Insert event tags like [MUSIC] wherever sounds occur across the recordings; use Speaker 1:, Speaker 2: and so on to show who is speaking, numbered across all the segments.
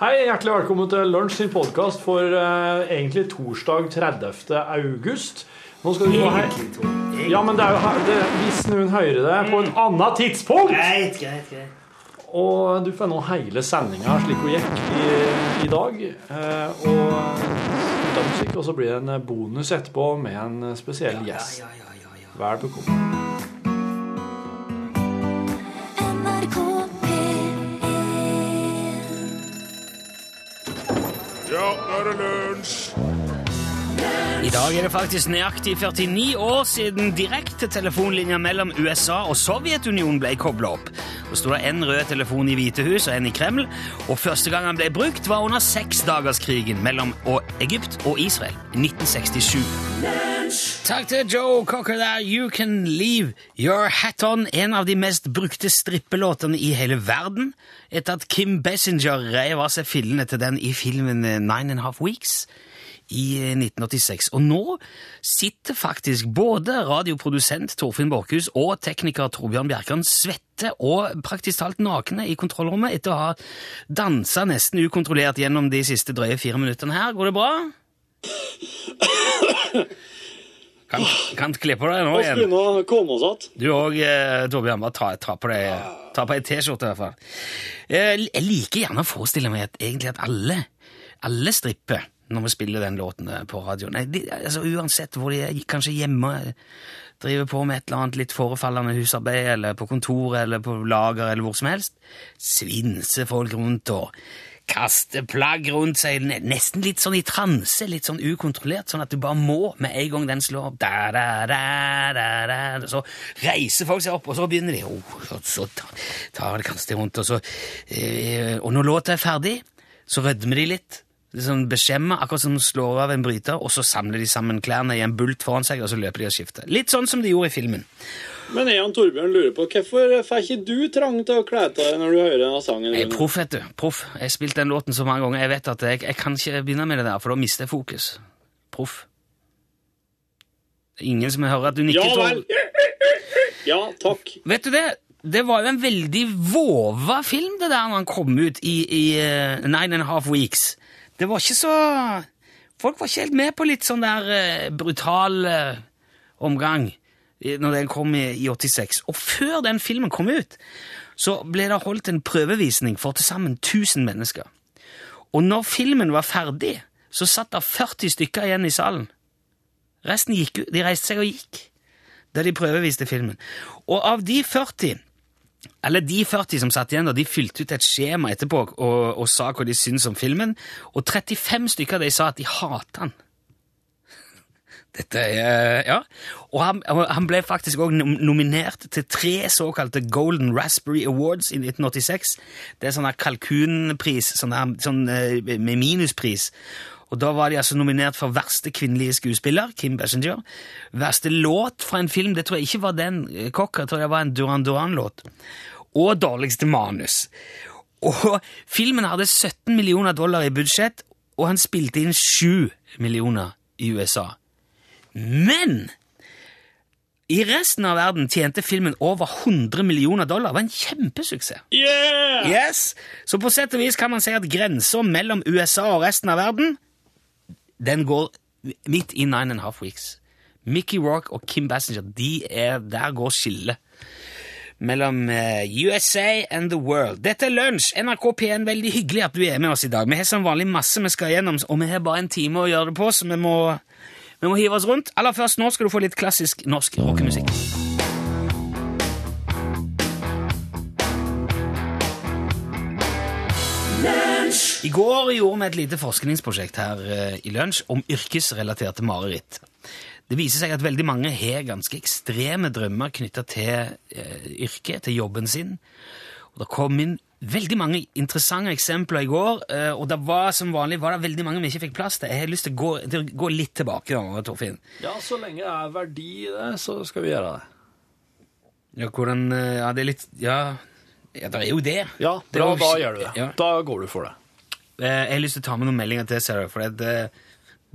Speaker 1: Hei, hjertelig velkommen til Lunsj sin podkast for eh, egentlig torsdag 30. august. Nå skal du gå her. Ja, men det er jo her, det, hvis noen hører det på et annet tidspunkt
Speaker 2: Greit, greit, greit.
Speaker 1: Og du får nå hele sendinga slik hun gikk i, i dag. Eh, og slutter musikk, og så blir det en bonus etterpå med en spesiell gjest.
Speaker 2: Ja, ja, ja, ja.
Speaker 1: Vær bekomme.
Speaker 3: NRK P1
Speaker 4: Ja, nå er det lunsj!
Speaker 2: I dag er det faktisk nøyaktig 49 år siden direktetelefonlinja mellom USA og Sovjetunionen ble kobla opp. Det sto en rød telefon i Hvitehus og en i Kreml, og første gang han ble brukt, var under seksdagerskrigen mellom og Egypt og Israel i 1967. Takk til Joe Cocker der. You Can Leave Your Hat On, en av de mest brukte strippelåtene i hele verden, etter at Kim Bessinger reiv av seg fillene til den i filmen eh, Nine and a Half Weeks i eh, 1986. Og nå sitter faktisk både radioprodusent Torfinn Borkhus og tekniker Torbjørn Bjerkan svette og praktisk talt nakne i kontrollrommet etter å ha dansa nesten ukontrollert gjennom de siste drøye fire minuttene her. Går det bra? Kan, kan kle på deg nå igjen.
Speaker 5: begynne å komme oss att.
Speaker 2: Du òg, eh, Torbjørn. Bare ta, ta på deg ta på ei T-skjorte, i hvert fall. Eh, Jeg liker gjerne å forestille meg at egentlig at alle, alle stripper når vi spiller den låten eh, på radioen. Nei, de, altså, uansett hvor de er, kanskje hjemme eh, driver på med et eller annet litt forefallende husarbeid, eller på kontoret, eller på lager, eller hvor som helst. Svinser folk rundt og kaster plagg rundt seg, ne- nesten litt sånn i transe, litt sånn ukontrollert, sånn at du bare må, med en gang den slår opp, da, da, da, da, da, og så reiser folk seg opp, og så begynner de, oh, og så tar, tar de kaster rundt, og så, eh, og når låta er ferdig, så rødmer de litt, liksom beskjemmer, akkurat som de slår av en bryter, og så samler de sammen klærne i en bult foran seg, og så løper de og skifter. Litt sånn som de gjorde i filmen.
Speaker 5: Men jeg og Torbjørn lurer på, hvorfor får ikke du trang til å kle av deg når du hører denne sangen?
Speaker 2: Jeg er proff, vet du. Proff. Jeg har spilt den låten så mange ganger. Jeg vet at jeg, jeg kan ikke begynne med det der, for da mister jeg fokus. Proff. Det er ingen som hører at du nikker.
Speaker 5: ja
Speaker 2: Tor.
Speaker 5: vel! Ja, takk.
Speaker 2: Vet du det? Det var jo en veldig vova film, det der, når han kom ut i, i eh, Nine and a Half Weeks. Det var ikke så Folk var ikke helt med på litt sånn der eh, brutal eh, omgang i- når den kom i, i 86. Og før den filmen kom ut, så ble det holdt en prøvevisning for til sammen 1000 mennesker. Og når filmen var ferdig, så satt det 40 stykker igjen i salen. Resten gikk ut. De reiste seg og gikk der de prøveviste filmen. Og av de 40 eller de 40 som satt igjen, da, de fylte ut et skjema etterpå og, og sa hva de syntes om filmen, og 35 stykker av de sa at de hatet den. Dette er Ja. Og han, og han ble faktisk òg nominert til tre såkalte Golden Raspberry Awards i 1986. Det er sånn her kalkunpris, sånn, her, sånn eh, med minuspris. Og da var de altså nominert for verste kvinnelige skuespiller, Kim Bessinger. Verste låt fra en film, det tror jeg ikke var den eh, Cocker, jeg tror det var en Duran Duran-låt. Og dårligste manus. Og filmen hadde 17 millioner dollar i budsjett, og han spilte inn 7 millioner i USA. Men i resten av verden tjente filmen over 100 millioner dollar. Det var en kjempesuksess.
Speaker 5: Yeah!
Speaker 2: Yes! Så på sett og vis kan man si at grensa mellom USA og resten av verden den går midt i Nine and a Half Weeks. Mickey Rourke og Kim Bassinger, de er, der går skillet mellom eh, USA and the world. Dette er lunsj. NRK P1, veldig hyggelig at du er med oss i dag. Vi har som vanlig masse vi skal gjennom, og vi har bare en time å gjøre det på, så vi må, vi må hive oss rundt. Aller først nå skal du få litt klassisk norsk rockemusikk. I går gjorde vi et lite forskningsprosjekt her eh, i lunsj om yrkesrelaterte mareritt. Det viser seg at veldig mange har ganske ekstreme drømmer knytta til eh, yrket, til jobben sin. Og det kom inn veldig mange interessante eksempler i går, eh, og det var som vanlig var det veldig mange vi ikke fikk plass til. Jeg har lyst til å gå, til å gå litt tilbake, da, Torfinn.
Speaker 1: Ja, så lenge det er verdi i det, så skal vi gjøre det.
Speaker 2: Ja, hvordan eh, Ja, det er litt Ja, ja det er jo det.
Speaker 1: Ja,
Speaker 2: Det er
Speaker 1: bra,
Speaker 2: jo-
Speaker 1: da gjør du det.
Speaker 2: Ja.
Speaker 1: Da går du for det.
Speaker 2: Eh, Jeg har lyst til å ta med noen meldinger til, ser du, for det,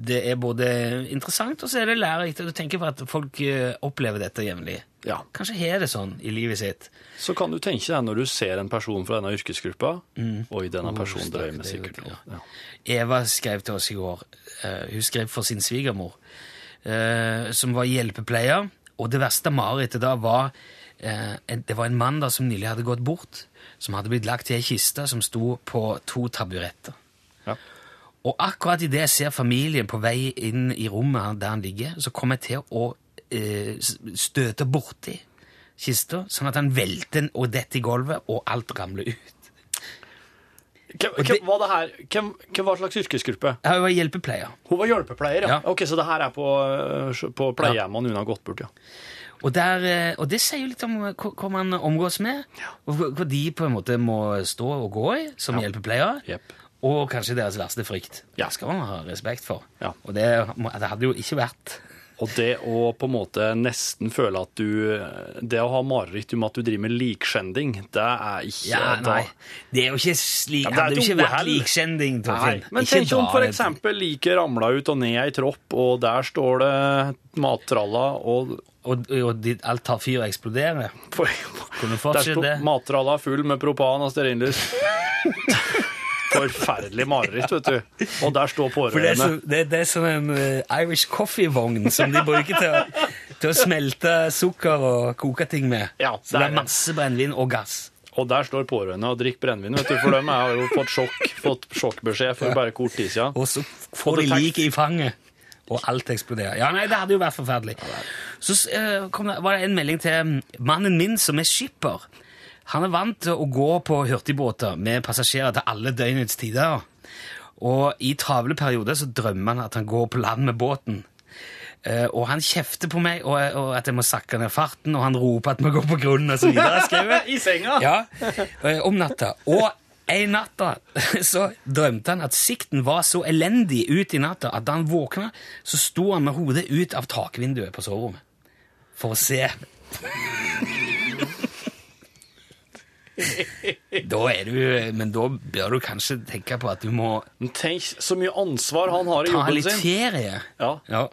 Speaker 2: det er både interessant og så er det lærerikt. og Du tenker på at folk eh, opplever dette jevnlig.
Speaker 6: Ja.
Speaker 2: Kanskje har det sånn i livet sitt.
Speaker 6: Så kan du tenke deg når du ser en person fra denne yrkesgruppa Oi, denne personen
Speaker 2: stakkar,
Speaker 6: drev med
Speaker 2: det er jo
Speaker 6: sikkert
Speaker 2: Mm. det,
Speaker 6: noe. Ja.
Speaker 2: Eva skrev til oss i går. eh, hun skrev for sin svigermor, eh, som var hjelpepleier. Og det verste marerittet da var eh, en, Det var en mann da som nylig hadde gått bort, som hadde blitt lagt i ei kiste som sto på to taburetter.
Speaker 6: Ja.
Speaker 2: Og akkurat idet jeg ser familien på vei inn i rommet der han ligger, så kommer jeg til å eh, s- støte borti kista, sånn at han velter den og detter i gulvet, og alt ramler ut.
Speaker 6: Hvem, hvem, var det her, hvem, hvem var slags yrkesgruppe?
Speaker 2: Jeg var hjelpepleier.
Speaker 6: Hun var hjelpepleier, ja.
Speaker 2: Ja.
Speaker 6: Ok, Så det her er på, øh, på pleiehjemmet og noen har gått bort, ja.
Speaker 2: Og, der, eh, og det sier jo litt om hva hva man omgås med, og hva- hva de på en måte må stå og gå i som hjelpepleiere,
Speaker 6: Jepp.
Speaker 2: og kanskje deres verste frykt.
Speaker 6: Ja.
Speaker 2: Det skal man ha respekt for.
Speaker 6: Ja.
Speaker 2: Og det, må- det hadde jo ikke vært
Speaker 6: Og det å på en måte nesten føle at du øh, Det å ha mareritt om at du driver med likskjending, det er ikke
Speaker 2: ja,
Speaker 6: da-
Speaker 2: nei. Det er jo ikke slik
Speaker 6: Ja, det er
Speaker 2: hadde jo
Speaker 6: et
Speaker 2: ikke vært
Speaker 6: uhell.
Speaker 2: likskjending,
Speaker 6: Nei,
Speaker 2: Torfinn.
Speaker 6: men
Speaker 2: Ikke
Speaker 6: tenk om
Speaker 2: dra
Speaker 6: for
Speaker 2: det-
Speaker 6: eksempel like ramla ut og ned ei tropp, og der står det mattralla og
Speaker 2: Og, og de, alt tar fyr og eksploderer.
Speaker 6: for,
Speaker 2: Kunne
Speaker 6: Der
Speaker 2: fortsatt
Speaker 6: sto
Speaker 2: det.
Speaker 6: mattralla full med propan og stearinlys. Forferdelig mareritt, vet du. Og der står
Speaker 2: For det er, så,
Speaker 6: pårørende.
Speaker 2: det, det er som en eh, Irish coffee-vogn som de bruker til å, til å smelte sukker og koke ting med.
Speaker 6: Ja,
Speaker 2: så det
Speaker 6: det er-
Speaker 2: er masse brennevin og gass.
Speaker 6: Og der står pårørende og drikker brennevin, vet du. For dem har jo fått sjokk, fått sjokkbeskjed for bare kort tid siden.
Speaker 2: Og så får de
Speaker 6: det takt.
Speaker 2: liket i fanget, og alt eksploderer. Ja, nei, det hadde jo vært forferdelig. Så eh, kom det, var det en melding til mm, mannen min som er skipper. Han er vant til å gå på hurtigbåter med passasjerer til alle døgnets tider. Og i travle perioder så drømmer han at han går på land med båten. Eh, og han kjefter på meg og, og at jeg må sakke ned farten, og han roper at vi går på grunnen, og så videre. skrev [LAUGHS] jeg.
Speaker 6: I senga!
Speaker 2: Ja, eh, om natta. Og en natt da, [LAUGHS] så drømte han at sikten var så elendig ut i natta at da han våkna, så sto han med hodet ut av takvinduet på soverommet for å se. [LAUGHS] Da er du, men da bør du kanskje tenke på at du må
Speaker 6: Men tenk så mye ansvar han har
Speaker 2: ta
Speaker 6: i jobben
Speaker 2: litt
Speaker 6: sin.
Speaker 2: ferie.
Speaker 6: Ja.
Speaker 2: Ja.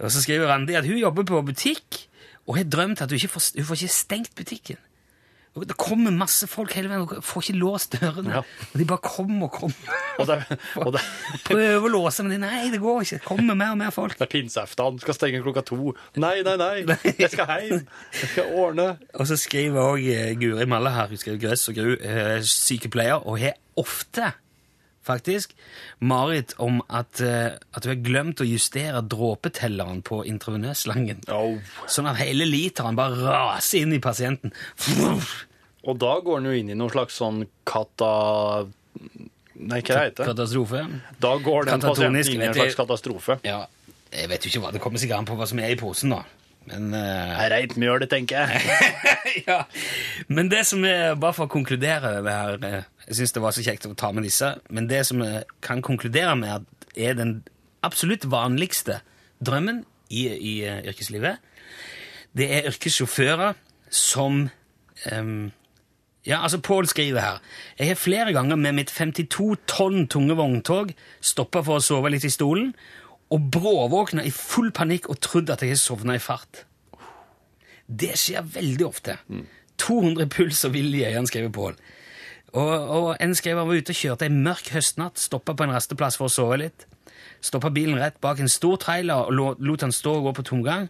Speaker 2: Og så skriver Randi at hun jobber på butikk, og har drømt at hun ikke får, hun får ikke stengt butikken. Og Det kommer masse folk hele veien, og hun får ikke låst dørene.
Speaker 6: Ja.
Speaker 2: Og de bare kommer og [LAUGHS] kommer.
Speaker 6: Og det, er- og det,
Speaker 2: Prøver å låse, men de, nei, det går ikke. Det kommer mer og mer folk.
Speaker 6: det er pinseaften, skal stenge klokka to. Nei, nei, nei, jeg skal hjem. Jeg skal ordne.
Speaker 2: Og så skriver òg Guri Malle her, hun skriver Grøss og Gru, eh, sykepleier, og har ofte faktisk mareritt om at, eh, at hun har glemt å justere dråpetelleren på intravenøsslangen. Sånn at hele literen bare raser inn i pasienten.
Speaker 6: Og da går han jo inn i noen slags sånn kata... Nei, hva heter det?
Speaker 2: Katastrofe.
Speaker 6: Da går den pasienten
Speaker 2: Katatonisk,
Speaker 6: inn i en
Speaker 2: vet jeg.
Speaker 6: slags katastrofe.
Speaker 2: Ja, jeg vet jo ikke hva det kommer sikkert an på hva som er i posen, da. Men, eh,
Speaker 6: Reint mjøl, tenker jeg.
Speaker 2: [LAUGHS] ja. men det som er, bare for å konkludere det her eh, Jeg syns det var så kjekt å ta med disse, men det som jeg kan konkludere med at er den absolutt vanligste drømmen i, i eh, yrkeslivet, det er yrkessjåfører som ehm, Ja, altså, Pål skriver her. Jeg har flere ganger med mitt 52 tonn tunge vogntog stoppa for å sove litt i stolen, og bråvåkna i full panikk og trodd at jeg har sovna i fart. Det skjer veldig ofte. 200 puls og vill i øynene, skriver Pål. Og, og en skrev han var ute og kjørte en mørk høstnatt, stoppa på en rasteplass for å sove litt. Stoppa bilen rett bak en stor trailer og lo- lot han stå og gå på tomgang.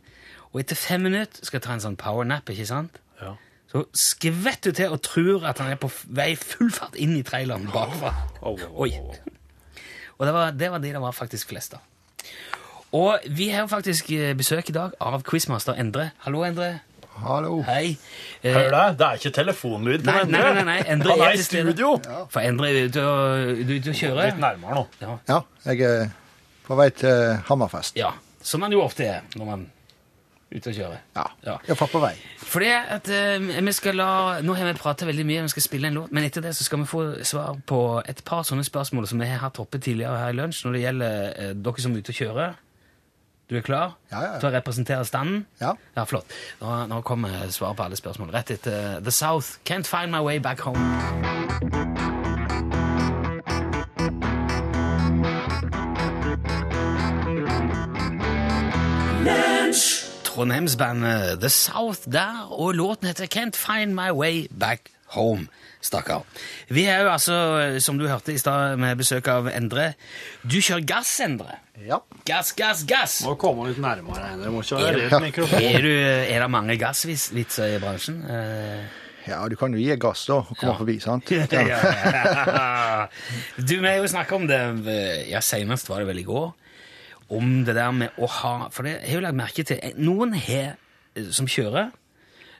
Speaker 2: Og etter fem minutter skal jeg ta en sånn powernap, ikke sant?
Speaker 6: Ja.
Speaker 2: Så skvett du til og tror at han er på f- vei full fart inn i traileren bakfra.
Speaker 6: Au, au, au, au.
Speaker 2: Oi. Og det var, det var de det var faktisk flest av. Og vi har jo faktisk eh, besøk i dag av quizmaster Endre. Hallo, Endre.
Speaker 7: Hallo.
Speaker 2: Hei. Eh,
Speaker 6: Hør deg, det er ikke telefonlyd på
Speaker 2: Nei,
Speaker 6: den.
Speaker 2: nei, nei, nei. Endre
Speaker 6: Han
Speaker 2: er
Speaker 6: er i
Speaker 2: til stede.
Speaker 6: studio.
Speaker 2: For Endre er ute og, du er ute og kjører.
Speaker 6: Litt nærmere nå.
Speaker 7: Ja, jeg er på vei til Hammerfest.
Speaker 2: Ja, Som man jo ofte er når man er ute og kjører.
Speaker 7: Ja,
Speaker 2: Ja.
Speaker 7: iallfall på vei.
Speaker 2: Fordi at eh, vi skal la, Nå har vi prata veldig mye, vi skal spille en låt, men etter det så skal vi få svar på et par sånne spørsmål som vi har hatt oppe tidligere her i lunsj, når det gjelder eh, dere som er ute og kjører. Du er klar
Speaker 7: Ja, ja, ja.
Speaker 2: til å representere standen?
Speaker 7: Ja.
Speaker 2: ja flott. Nå, nå kommer svar på alle spørsmål rett etter eh, The South. Can't find my way back home. Trondheimsbandet eh, The South der, og låten heter Can't Find My Way Back Home. Stakkar. Vi er jo altså, som du hørte i stad, med besøk av Endre. Du kjører gass, Endre.
Speaker 8: Ja.
Speaker 2: Gass, gass, gass!
Speaker 6: Må komme litt nærmere. Einar. Det må ikke være
Speaker 2: Er,
Speaker 6: rett mikrofon.
Speaker 2: er, du, er det mange gassvitser i bransjen? Eh,
Speaker 8: ja, du kan jo gi gass, da, og komme forbi, sant?
Speaker 2: [LAUGHS] Ja.
Speaker 8: Ja.
Speaker 2: [LAUGHS] du, vi har jo snakka om det eh, Ja, senest var det vel i går. Om det der med å ha For det har jeg jo lagt merke til. eh, Noen har, eh, som kjører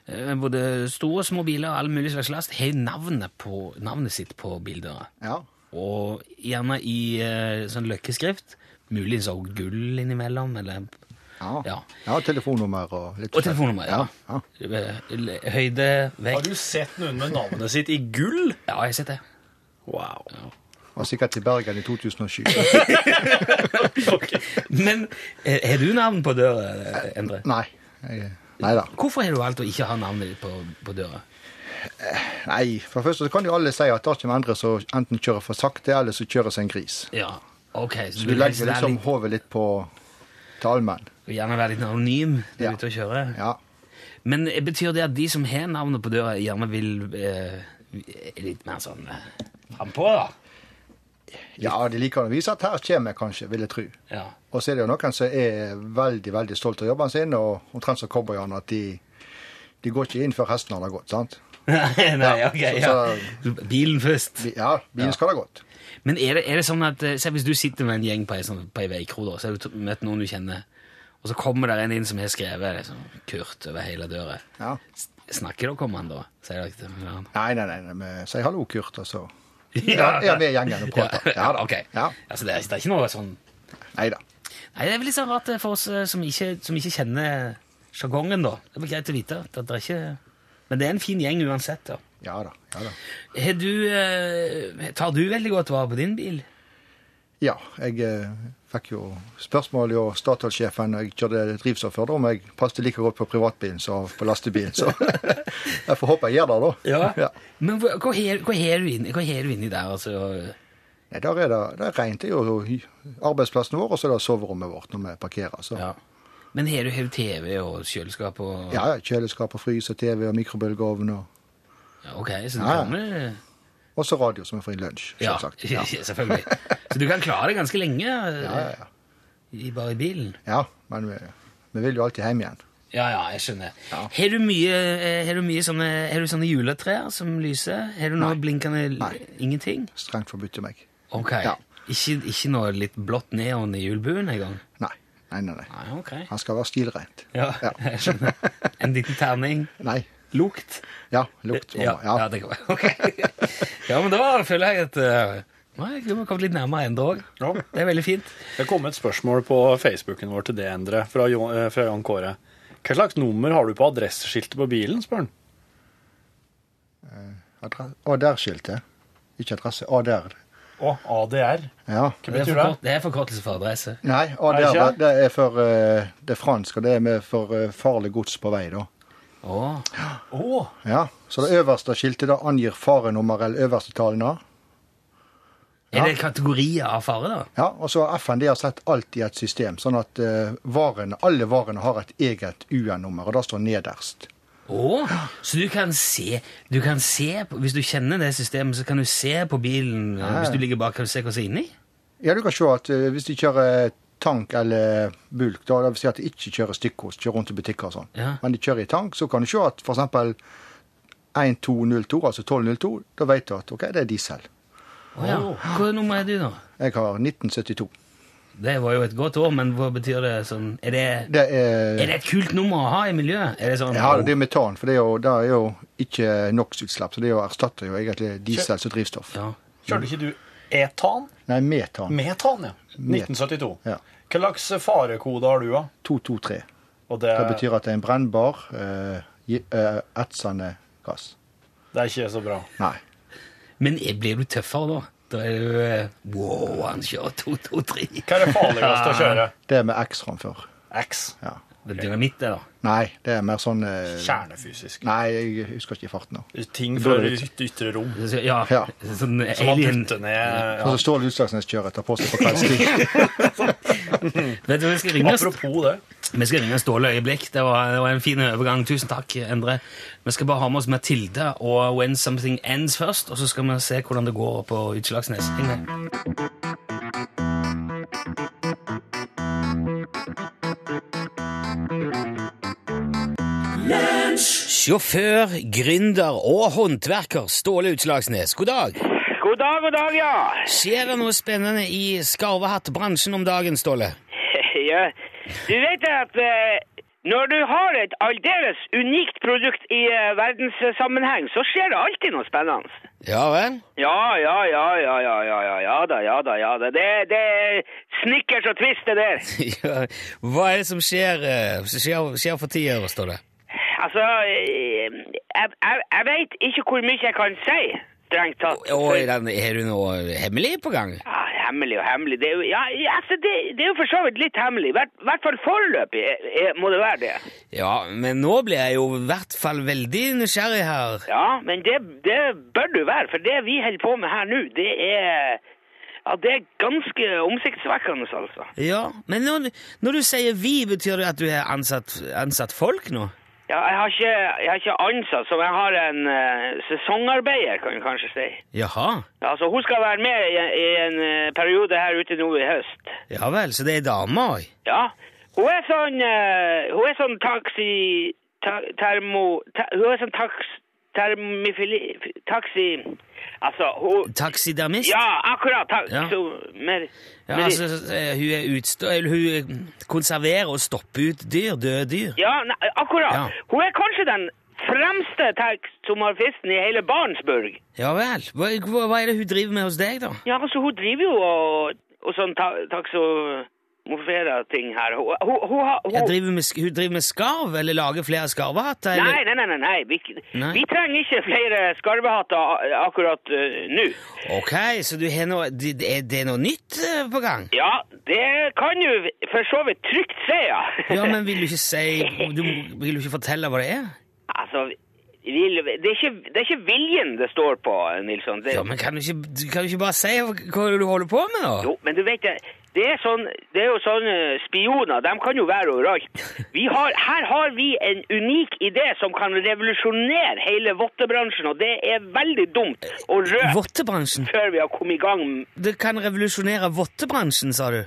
Speaker 2: eh, både store og små biler og all mulig slags last, har jo navnet, på, navnet sitt på bildøra.
Speaker 8: ja.
Speaker 2: Og gjerne i eh, sånn løkkeskrift. Muligens også gull innimellom, eller
Speaker 8: Ja.
Speaker 2: Ja.
Speaker 8: ja telefonnummer og litt
Speaker 2: Og telefonnummer, ja. Eh, Høyde,
Speaker 6: Har
Speaker 2: vekt
Speaker 6: du sett noen med navnet sitt i gull?
Speaker 2: Ja, jeg har sett det.
Speaker 6: Wow.
Speaker 8: Var sikkert i Bergen i
Speaker 2: [LAUGHS]
Speaker 8: 2007.
Speaker 2: Men eh, har du navn på døra, eh, Endre?
Speaker 8: Nei. jeg- Nei da.
Speaker 2: Hvorfor har du valgt å ikke ha navnet ditt på, på døra?
Speaker 8: Nei, for det første så kan jo alle si at det er ikke andre som enten kjører for sakte, eller så kjører som en gris.
Speaker 2: Ja, ok. Så
Speaker 8: Så
Speaker 2: du
Speaker 8: du
Speaker 2: vil helst
Speaker 8: legger
Speaker 2: være
Speaker 8: liksom
Speaker 2: litt,
Speaker 8: hodet litt på talmen.
Speaker 2: vil gjerne være litt anonym når
Speaker 8: Ja.
Speaker 2: du er ute og kjører.
Speaker 8: Ja.
Speaker 2: Men eh, betyr det at de som har navnet på døra, gjerne vil eh, er litt mer sånn eh, frampå, da?
Speaker 8: ja, de liker å vise at her kommer jeg kanskje, vil jeg tro.
Speaker 2: Ja.
Speaker 8: Og så er det jo noen som er veldig veldig stolt av jobben sin, og omtrent som cowboyene, at de, de går ikke inn før hesten har det godt. sant?
Speaker 2: Nei, nei,
Speaker 8: Ja,
Speaker 2: ok.
Speaker 8: så-
Speaker 2: Ja. [LAUGHS] Bilen først.
Speaker 8: Vi- Ja, bilen skal ha det godt.
Speaker 2: Men er det, er det sånn at eh, Se hvis du sitter med en gjeng på ei, sånn, på ei veikro, da, så har du t- møtt noen du kjenner, og så kommer der en inn som har skrevet liksom, Kurt over hele døra.
Speaker 8: Ja.
Speaker 2: S- Snakker dere om han da? Sier dere til han?
Speaker 8: Nei, nei, nei, nei, vi sier hallo, Kurt, og så
Speaker 2: [LAUGHS] Ja,
Speaker 8: er vi i gjengen og prater. Ja da.
Speaker 2: [LAUGHS] ok.
Speaker 8: Ja.
Speaker 2: Altså, det, er, det er ikke noe sånn
Speaker 8: Nei da.
Speaker 2: Nei, Det er vel litt sånn rart eh, for oss eh, som ikke, som ikke kjenner sjargongen, da. Det er vel greit å vite. at det er ikke... Men det er en fin gjeng uansett. da.
Speaker 8: Ja da. Ja, da.
Speaker 2: Har du, eh, tar du veldig godt vare på din bil?
Speaker 8: ja jeg eh, fikk jo spørsmål jo Statoil-sjefen når jeg kjørte drivstoff før, da, om jeg passet like godt på privatbilen som på lastebilen. Så [LAUGHS] jeg får håpe jeg gjør det, da.
Speaker 2: Men hva hva har hva har du, inn- hva har du inni der? altså...
Speaker 8: Nei, der er det, det er rent. Det er jo arbeidsplassen vår, og så er det soverommet vårt når vi parkerer. Så.
Speaker 2: Ja. Men har du har du TV og kjøleskap og
Speaker 8: Ja, ja, kjøleskap og frys og TV og mikrobølgeovn og
Speaker 2: Ja, Ok, så du
Speaker 8: Ja, ja.
Speaker 2: kan eh,
Speaker 8: også radio som vi får inn lunsj,
Speaker 2: Ja,
Speaker 8: selvsagt.
Speaker 2: [LAUGHS]
Speaker 8: Ja.
Speaker 2: selvfølgelig. Så du kan klare det ganske lenge eh,
Speaker 8: Ja, ja, ja.
Speaker 2: i- bare i bilen.
Speaker 8: ja, men vi, vi vil jo alltid hjem igjen.
Speaker 2: Ja, ja, jeg skjønner.
Speaker 8: Ja.
Speaker 2: Har du mye, eh, har du mye sånne, har du sånne juletrær som lyser? Har du noe blinkende l-
Speaker 8: Nei.
Speaker 2: Ingenting?
Speaker 8: Strengt forbudt til meg.
Speaker 2: Ok.
Speaker 8: Ja.
Speaker 2: Ikke, ikke noe litt blått neon i julebuen engang?
Speaker 8: Nei. Nei, nei, nei.
Speaker 2: Nei, ok.
Speaker 8: Han skal være stilrent.
Speaker 2: Ja, [LAUGHS] jeg skjønner. En liten terning?
Speaker 8: Nei.
Speaker 2: Lukt?
Speaker 8: Ja, lukt.
Speaker 2: Ja,
Speaker 8: Sånn, Ja.
Speaker 2: ja. det kan være. [LAUGHS] Ok. Ja, men da føler jeg at eh, Nei, vi har kommet litt nærmere enda òg.
Speaker 1: Ja.
Speaker 2: Det er veldig fint.
Speaker 1: Det kom et spørsmål på Facebooken vår til det, Endre, fra Jon, eh, fra Jan Kåre. Hva slags nummer har du på adresseskiltet på bilen, spør han.
Speaker 8: Adre- Å, der skiltet. Ikke adresse. Å, der.
Speaker 6: Å, ADR.
Speaker 8: Ja.
Speaker 6: Hva
Speaker 2: Det er,
Speaker 6: betyr det?
Speaker 2: forkort, det er forkortelse for adresse.
Speaker 8: Nei, å,
Speaker 1: Er det
Speaker 8: der,
Speaker 1: ikke?
Speaker 8: det er for eh, det er fransk, og det er med for eh, farlig gods på vei, da.
Speaker 2: Åh.
Speaker 6: Å,
Speaker 8: Ja, Så det øverste skiltet da angir farenummer eller øverste tallene.
Speaker 2: Er det kategorier av fare, da?
Speaker 8: Ja, og så har FND har sett alt i et system, sånn at eh, varene, alle varene har et eget UN-nummer, og det står nederst.
Speaker 2: Åh. Så du kan se, du kan se på, Hvis du kjenner det systemet, så kan du se på bilen eh, hvis du ligger bak. Kan du se hva som er inni?
Speaker 8: Ja, du kan se at eh, hvis de kjører tank eller bulk, da det vil si at de ikke kjører stykkost, kjører rundt i butikker og sånn,
Speaker 2: Ja.
Speaker 8: men de kjører i tank, så kan du se at for eksempel 1202, altså 1202, da vet du at ok, det er diesel.
Speaker 2: Åh, ja. Hva nummer er du, da?
Speaker 8: Jeg har 1972.
Speaker 2: Det var jo et godt år, men hva betyr det sånn Er det,
Speaker 8: Det er,
Speaker 2: er det et kult nummer å ha i miljøet? Er det sånn
Speaker 8: ja, det er metan, for det er jo, det er jo ikke NOx-utslipp, så det er jo erstatter jo egentlig diesel som drivstoff.
Speaker 2: ja.
Speaker 6: kjørte ikke du etan?
Speaker 8: Nei, metan.
Speaker 6: Metan, ja. 1972.
Speaker 8: Ja.
Speaker 6: Hva slags farekode har du, da?
Speaker 8: 223.
Speaker 6: Og det,
Speaker 8: Det betyr at det er en brennbar, eh, gi- eh, etsende gass.
Speaker 6: det er ikke så bra.
Speaker 8: Nei.
Speaker 2: Men er- blir du tøffere da? Da er du eh, Wow, han kjører 223. [LAUGHS]
Speaker 6: Hva er det farligste å kjøre?
Speaker 8: Det er med X framfor.
Speaker 6: X.
Speaker 8: Ja.
Speaker 2: Det er dynamitt, det, da.
Speaker 7: Nei, det er mer sånn eh,
Speaker 6: Kjernefysisk.
Speaker 7: Nei, jeg husker ikke farten nå.
Speaker 6: Ting fra yt- ytre rom.
Speaker 2: Det er så- Ja,
Speaker 7: Ja.
Speaker 2: Sånn
Speaker 6: Som man
Speaker 2: alien
Speaker 6: putter ned ja.
Speaker 7: Og så står Utslagsnes kjøret tar på seg på
Speaker 8: [LAUGHS]
Speaker 7: kveldstid.
Speaker 2: Vet du, vi skal ringe
Speaker 6: Apropos det.
Speaker 2: Vi skal ringe Ståle øyeblikk. Det var, det var en fin overgang. Tusen takk, Endre. Vi skal bare ha med oss Matilda og When Something Ends først, og så skal vi se hvordan det går på Utslagsnes. Heng med. Sjåfør, gründer og håndverker Ståle Utslagsnes, god dag.
Speaker 9: God dag, god dag, ja.
Speaker 2: Skjer det noe spennende i skarvehattbransjen om dagen, Ståle?
Speaker 9: [LAUGHS] ja. Du vet at eh, når du har et aldeles unikt produkt i eh, verdenssammenheng, så skjer det alltid noe spennende.
Speaker 2: Ja vel? [LAUGHS]
Speaker 9: Ja, ja, ja, ja, ja, ja, ja, ja da, ja da, ja da. Det, det er snickers og twist det der.
Speaker 2: Ja, hva er det som skjer, eh, som skjer, skjer for tida, står det?
Speaker 9: Altså, eh, jeg, jeg, jeg vet ikke hvor mye jeg kan si, strengt tatt.
Speaker 2: Og er, den, er du noe hemmelig på gang?
Speaker 9: Ja, hemmelig og hemmelig. Det er jo, ja, altså, det, det er jo for så vidt litt hemmelig. I hvert, hvert fall foreløpig eh, eh, må det være det.
Speaker 2: Ja, men nå blir jeg jo i hvert fall veldig nysgjerrig her.
Speaker 9: Ja, men det, det bør du være, for det vi holder på med her nå, det er ja, det er ganske omsiktsvekkende, altså.
Speaker 2: Ja, Men når, når du sier vi, betyr det at du har ansatt, ansatt folk nå?
Speaker 9: Ja, jeg har ikke, jeg har ikke ansatt, så jeg har en eh, sesongarbeider, kan du kanskje si.
Speaker 2: Jaha.
Speaker 9: Altså, hun skal være med i, i en eh, periode her ute nå i høst.
Speaker 2: Ja vel, så det er dama òg?
Speaker 9: Ja, hun er sånn, eh, hun er sånn taxi... Ta, termo... Ta, hun er sånn tax... Termifili... Taxi... Altså, hun...
Speaker 2: Taxidermist?
Speaker 9: Ja, akkurat, takk.
Speaker 2: Ja.
Speaker 9: mer,
Speaker 2: Ja,
Speaker 9: mer-
Speaker 2: altså, eh, hun, er utstø eller hun konserverer og stopper ut dyr, døde dyr.
Speaker 9: Ja, nei, akkurat.
Speaker 2: Ja.
Speaker 9: Hun er kanskje den fremste taxomorfisten i hele Barentsburg.
Speaker 2: Ja vel. Hva, hva hva er det hun driver med hos deg, da?
Speaker 9: Ja, altså, hun driver jo og, og sånn ta taxomorferer ting her. Hun, hun, hun, har- hun,
Speaker 2: Jeg driver med, sk- hun driver med skarv, eller lager flere skarvehatter? eller-
Speaker 9: Nei, nei, nei, nei, nei. Vi,
Speaker 2: Nei.
Speaker 9: vi trenger ikke flere skarvehatter a- akkurat eh, nå.
Speaker 2: Ok, så du har noe, det, det er- det er noe nytt eh, på gang?
Speaker 9: Ja, det kan jo for så vidt trygt si, ja.
Speaker 2: Ja, men vil du ikke si du, Vil du ikke fortelle hva det er?
Speaker 9: [LAUGHS] altså, vil, det, er ikke, det er ikke viljen det står på, Nilsson. Det,
Speaker 2: Ja, men Kan du ikke, du- kan du ikke bare si hva du holder på med, da?
Speaker 9: Jo, men du vet det, det er, sånn, det er jo sånne spioner, de kan jo være overalt. Vi har, her har vi en unik idé som kan revolusjonere hele vottebransjen, og det er veldig dumt å røpe
Speaker 2: Vottebransjen?
Speaker 9: før vi har kommet i gang.
Speaker 2: Det kan revolusjonere vottebransjen, sa du?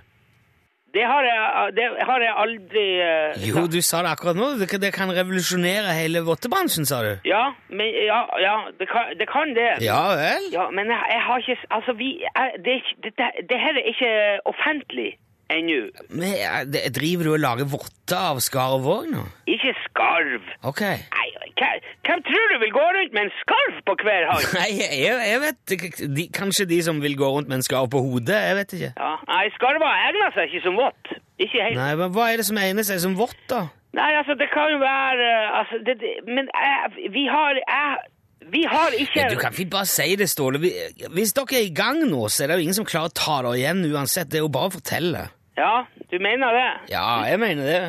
Speaker 9: Det har jeg, eh, det har jeg aldri eh,
Speaker 2: Jo, du sa det akkurat nå. Det kan, det kan revolusjonere hele vottebransjen, sa du?
Speaker 9: Ja, men, ja, ja det, kan, det kan det.
Speaker 2: Ja vel?
Speaker 9: Ja, men jeg, jeg har ikke Altså, vi jeg, det, er ikke- dette, det her er ikke offentlig ennå.
Speaker 2: Men, eh, det- driver du og lager votter av skarv òg nå?
Speaker 9: Ikke skarv.
Speaker 2: Ok.
Speaker 9: Nei, hva- hvem tror du vil gå rundt med en skarv på hver hånd?
Speaker 2: [LAUGHS] Nei, jeg, jeg vet ikke. de, Kanskje de som vil gå rundt med en skarv på hodet? Jeg vet ikke.
Speaker 9: Ja, nei, skarver egner seg ikke som vått. Ikke helt. Nei.
Speaker 2: Nei, men Hva er det som egner seg som vått, da?
Speaker 9: altså, det kan jo være eh, altså, det, det, Men jeg, vi har jeg, Vi har ikke
Speaker 2: Men du kan fint bare si det, Ståle. Vi- Hvis dere er i gang nå, så er det jo ingen som klarer å ta dere igjen uansett. Det er jo bare å fortelle.
Speaker 9: Ja, du mener det?
Speaker 2: Ja, jeg mener det.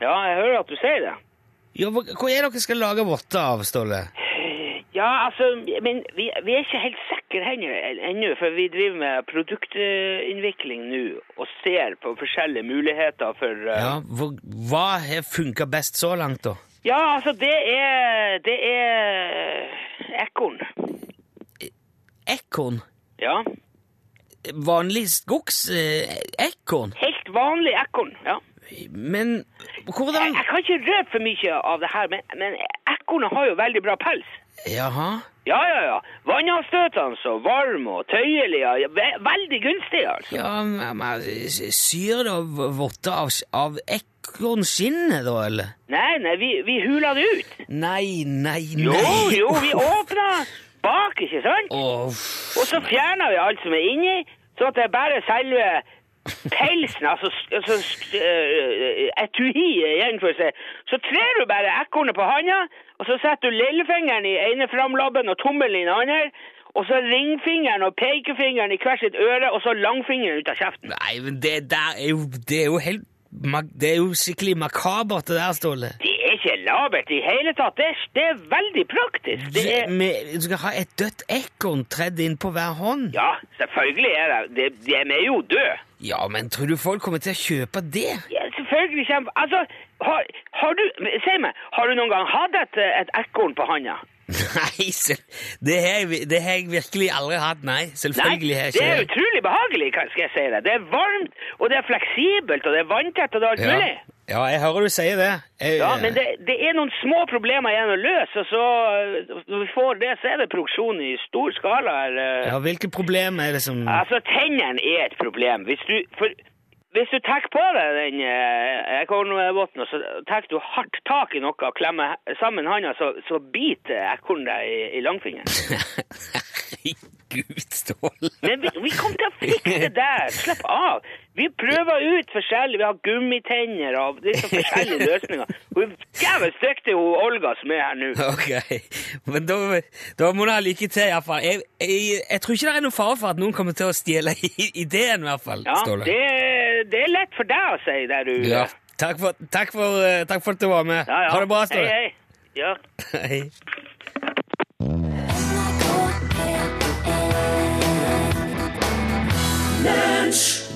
Speaker 9: Ja, jeg hører at du sier det.
Speaker 2: Ja, hva hva er det dere skal lage votter av, Ståle?
Speaker 9: Ja, altså, men vi, vi er ikke helt sikre hen- ennå, for vi driver med produktutvikling nå og ser på forskjellige muligheter for eh,
Speaker 2: Ja, hva, hva har funka best så langt, da?
Speaker 9: ja altså, det er Det er ekorn.
Speaker 2: Ekorn?
Speaker 9: Ja.
Speaker 2: Vanlig skogs eh, ekorn?
Speaker 9: Helt vanlig ekorn. Ja.
Speaker 2: Men
Speaker 9: Jeg,
Speaker 2: hvordan
Speaker 9: jeg kan ikke røpe for mye av det her, men, men ekornet har jo veldig bra pels.
Speaker 2: Jaha.
Speaker 9: Ja, ja, ja. Vannavstøtende og varm og tøyelig. ja. Ja, ve- Veldig gunstig, altså.
Speaker 2: Ja, men men, Syr dere votter av, av ekornskinnet, da, eller?
Speaker 9: Nei, nei, vi, vi hula det ut.
Speaker 2: Nei, nei, nei.
Speaker 9: Jo, jo, vi åpna bak, ikke sant?
Speaker 2: Åh, uff.
Speaker 9: Og så fjerna vi alt som er inni, så at det er bare selve pelsen, altså, s- altså s- eh, etuiet igjen, for å si. Så trer du bare ekornet på handa, og så setter du lillefingeren i ene framlabben og tommelen i den andre, og så ringfingeren og pekefingeren i hvert sitt øre, og så langfingeren ut av kjeften.
Speaker 2: Nei, men det der er jo, det er jo helt ma- Det er jo skikkelig makabert, det der, Ståle.
Speaker 9: Det er ikke labert i hele tatt. Det er, det er veldig praktisk. Det er,
Speaker 2: Med- Du skal ha et dødt ekorn tredd inn på hver hånd.
Speaker 9: ja, selvfølgelig er det det. De er jo døde.
Speaker 2: Ja, men tror du folk kommer til å kjøpe det?
Speaker 9: Ja, selvfølgelig kommer Altså, har, har du Si meg, har du noen gang hatt et, et ekorn på handa?
Speaker 2: Nei, selv, det, har jeg, vi- det har jeg virkelig aldri hatt. Nei, selvfølgelig har jeg
Speaker 9: det er
Speaker 2: ikke det.
Speaker 9: utrolig behagelig, kan- skal jeg si deg. Det er varmt, og det er fleksibelt, og det er vanntett, og det er alt mulig.
Speaker 2: Ja. ja, jeg hører du sier det. Jeg,
Speaker 9: Ja, men det, det er noen små problemer igjen å løse, og så øh, når vi får det, så er det produksjon i stor skala. eh, Eller,
Speaker 2: Ja, Hvilke problemer er det som
Speaker 9: Altså, tennene er et problem. Hvis du, for, hvis du tar på deg den eh, ekornvotten, og så tar du hardt tak i noe og klemmer sammen handa, så, så biter ekornet deg i, i langfingeren.
Speaker 2: Herregud, Ståle.
Speaker 9: Men vi, vi kommer til å fikse det! Slapp av! Vi prøver ut forskjellig. Vi har gummitegner og det er så forskjellige løsninger. Hun er jævlig dyktig, hun Olga som er her nå.
Speaker 2: Ok, men da, da må du ha lykke til, iallfall. Jeg, jeg, jeg tror ikke det er noen fare for at noen kommer til å stjele [LAUGHS] i- ideen, i hvert fall.
Speaker 9: Ja,
Speaker 2: Ståle.
Speaker 9: det, det er lett for deg å si det, du.
Speaker 2: Ja. Takk, for, takk, for, eh, takk for at du var med.
Speaker 9: Ja, ja.
Speaker 2: Ha det bra, Ståle.
Speaker 9: Hei, hei. Ja.
Speaker 2: Hei.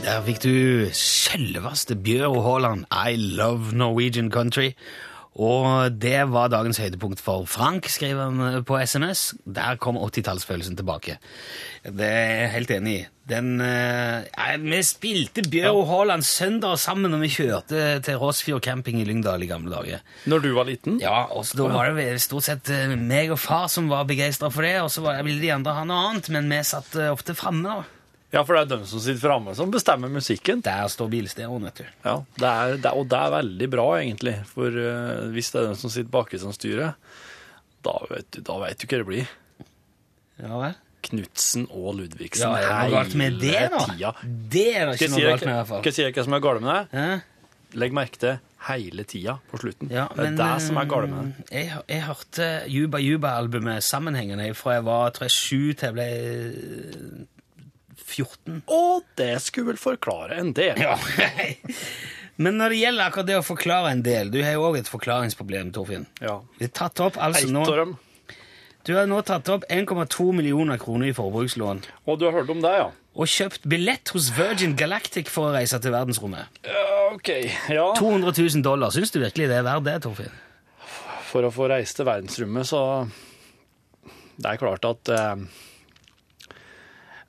Speaker 2: Der fikk du selveste Bjørn Haaland, I love Norwegian country. Og det var dagens høydepunkt for Frank, skrev han eh, på SMS. Der kom 80-tallsfølelsen tilbake. Det er jeg helt enig i. Den, eh, nei, vi spilte Bjørn Haaland søndag sammen når vi kjørte til Rossfjord camping i Lyngdal i gamle dager.
Speaker 6: Når du var liten?
Speaker 2: Ja, og så da var det vel stort sett eh, meg og far som var begeistra for det, og så var- ville de andre ha noe annet, men vi satt eh, ofte framme. da.
Speaker 6: Ja, for det er dem som sitter framme, som bestemmer musikken.
Speaker 2: Der står bilstereoen, vet du.
Speaker 6: Ja, det er, det, er- Og det er veldig bra, egentlig. For eh, hvis det er dem som sitter baki som styrer, da vet du, da vet du hva det blir.
Speaker 2: Ja vel?
Speaker 6: Knutsen og Ludvigsen
Speaker 2: Ja, er det noe galt med det, da?
Speaker 6: tida.
Speaker 2: Det er det
Speaker 6: Skal
Speaker 2: ikke
Speaker 6: jeg si
Speaker 2: noe galt med,
Speaker 6: deg
Speaker 2: i
Speaker 6: hva
Speaker 2: hvert fall.
Speaker 6: skal jeg si deg hva som er galt med det?
Speaker 2: Hæ?
Speaker 6: Legg merke til hele tida på slutten.
Speaker 2: Ja, men,
Speaker 6: det er det som er galt med det.
Speaker 2: eh, Jeg, hø- jeg hørte Juba Juba-albumet sammenhengende fra jeg var tror jeg, sju til jeg ble eh, 14.
Speaker 6: Og det skulle vel forklare en del.
Speaker 2: Ja. [LAUGHS] Men når det gjelder akkurat det å forklare en del Du har jo òg et forklaringsproblem, Torfinn.
Speaker 6: Ja.
Speaker 2: Vi har tatt opp, altså,
Speaker 6: Ett
Speaker 2: nå,
Speaker 6: av dem.
Speaker 2: du har nå tatt opp 1,2 millioner kroner i forbrukslån
Speaker 6: Og du har hørt om det, ja?
Speaker 2: og kjøpt billett hos Virgin Galactic for å reise til verdensrommet.
Speaker 6: Ja, OK. Ja.
Speaker 2: 200 000 dollar. Syns du virkelig det er verdt det, Torfinn?
Speaker 6: For å få reise til verdensrommet, så Det er klart at eh,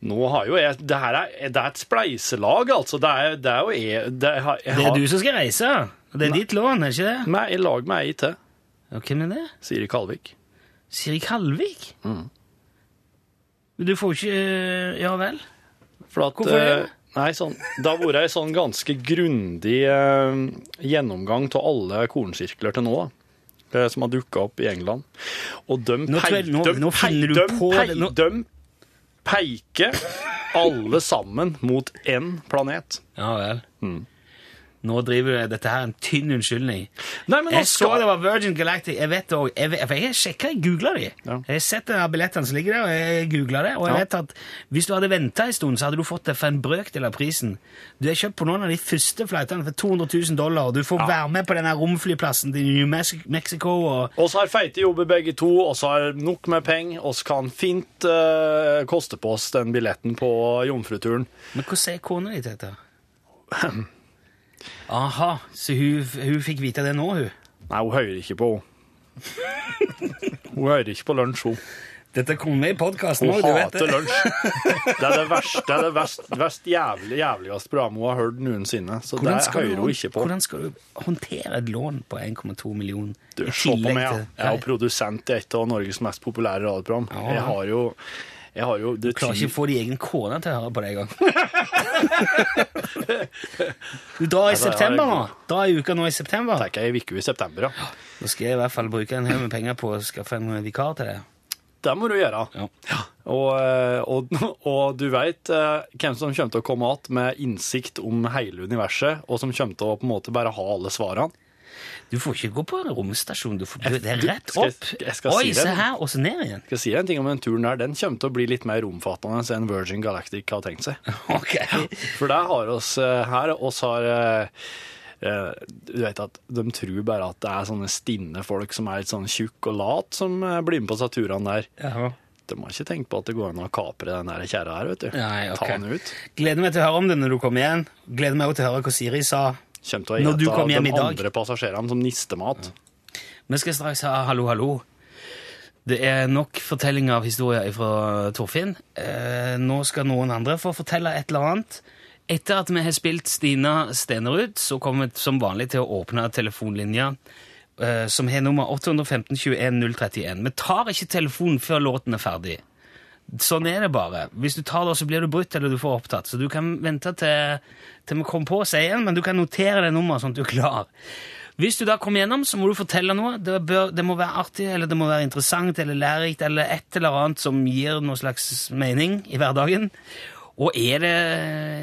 Speaker 6: Nå har jo jeg Det her er, det er et spleiselag, altså. Det er, det er jo jeg, det, jeg, har- jeg
Speaker 2: Det er
Speaker 6: har-
Speaker 2: du som skal reise. og Det er ditt lån, er det ikke det?
Speaker 6: Nei, i lag med ei til,
Speaker 2: Ja, hvem er det?
Speaker 6: Siri Kalvik.
Speaker 2: Siri Kalvik? Men Du får ikke øh, Ja vel?
Speaker 6: For at,
Speaker 2: Hvorfor det?
Speaker 6: eh, Nei, sånn, det har vært en sånn ganske grundig eh, gjennomgang av alle kornsirkler til nå, da. eh, Som har dukka opp i England. Og de
Speaker 2: Nå tror jeg- nå-
Speaker 6: de-
Speaker 2: nå finner du
Speaker 6: de-
Speaker 2: på det, nå-
Speaker 6: de peker alle sammen mot én planet.
Speaker 2: Ja vel. Nå driver du Dette her er en tynn unnskyldning.
Speaker 6: Nei, men nå
Speaker 2: Jeg så det
Speaker 6: skal
Speaker 2: var Virgin Galactic. Jeg vet det òg. Jeg, vet- for jeg sjekka, jeg googla de.
Speaker 6: Ja.
Speaker 2: Jeg har sett de her billettene som ligger der, og jeg googla det. Og jeg
Speaker 6: Ja.
Speaker 2: vet at hvis du hadde venta en stund, så hadde du fått det for en brøkdel av prisen. Du har kjøpt på noen av de første flightene for 200 000 dollar, og du får være med på den her romflyplassen til New Mex- Mexico og
Speaker 6: Og så har feite jobber begge to, og så har nok med penger, og så kan fint eh, koste på oss den billetten på jomfruturen.
Speaker 2: Men hva sier kona di til dette? Aha, så hun, hun fikk vite det nå, hun?
Speaker 6: Nei, hun hører ikke på, hun. Hun hører ikke på lunsj, hun.
Speaker 2: Dette kom med i podkasten òg,
Speaker 6: Hun
Speaker 2: du vet
Speaker 6: hater
Speaker 2: det.
Speaker 6: lunsj. Det er det verste, det er det verst, verst jævlig, jævligste programmet hun har hørt noensinne. Så det hører hun ikke på.
Speaker 2: hvordan skal du håndtere et lån på 1,2 millioner?
Speaker 6: Du,
Speaker 2: i
Speaker 6: se på
Speaker 2: tillegg
Speaker 6: meg, ja.
Speaker 2: til-
Speaker 6: jeg er jo produsent i et av Norges mest populære radioprogram.
Speaker 2: Ja.
Speaker 6: Jeg har jo, jeg har jo det
Speaker 2: Du klarer ikke å
Speaker 6: ty-
Speaker 2: få din egen kone til å høre på det
Speaker 6: [LAUGHS]
Speaker 2: engang. Du drar i
Speaker 6: det er
Speaker 2: september nå.
Speaker 6: god.
Speaker 2: Dra i uka nå i september.
Speaker 6: Det er ikke ei uke i september, ja.
Speaker 2: Nå skal jeg i hvert fall bruke en haug med penger på å skaffe en vikar til deg.
Speaker 6: Det må du gjøre.
Speaker 2: Ja.
Speaker 6: Og, eh, og, [LAUGHS] og du veit hvem som kommer til å komme igjen med innsikt om hele universet, og som kommer til å på en måte bare ha alle svarene.
Speaker 2: Du får ikke gå på romstasjon. Du får, du, det er rett
Speaker 6: Skal jeg-
Speaker 2: opp.
Speaker 6: jeg skal
Speaker 2: Oi,
Speaker 6: si
Speaker 2: se
Speaker 6: det.
Speaker 2: her, og så ned
Speaker 6: [LAUGHS]
Speaker 2: igjen.
Speaker 6: Skal jeg si deg en ting om den turen der, den kommer til å bli litt mer omfattende enn Virgin
Speaker 2: [LAUGHS]
Speaker 6: Galactic har tenkt seg.
Speaker 2: Ok.
Speaker 6: For der har oss eh, her, oss har eh, eh, Du vet at de tror bare at det er sånne stinne folk som er litt sånn tjukke og lat som eh, blir med på seg turene der.
Speaker 2: Ja.
Speaker 6: De har ikke tenkt på at det går an å kapre den der kjerra her, vet du.
Speaker 2: Nei, ok.
Speaker 6: Ta den ut.
Speaker 2: Gleder meg til å høre om det når du kommer igjen. Gleder meg også til å høre hva Siri sa.
Speaker 6: Kjem til å
Speaker 2: Når du
Speaker 6: ete
Speaker 2: kom hjem i
Speaker 6: de
Speaker 2: dag.
Speaker 6: andre passasjerene som nistemat.
Speaker 2: Vi skal straks ha Hallo, hallo. Det er nok fortellinger av historier fra Torfinn. Eh, nå skal noen andre få fortelle et eller annet. Etter at vi har spilt Stina Stenerud, så kommer vi som vanlig til å åpne telefonlinja, eh, som har nummer 815 21 031. Vi tar ikke telefonen før låten er ferdig. Sånn er det bare. Hvis du tar det, så blir du brutt eller du får opptatt. Så du kan vente til, til vi kommer på å si igjen, men du kan notere det nummeret sånn at du er klar. Hvis du da kommer gjennom, så må du fortelle noe. Det, bør, det må være artig, eller det må være interessant, eller lærerikt, eller et eller annet som gir noe slags mening i hverdagen. Og er det,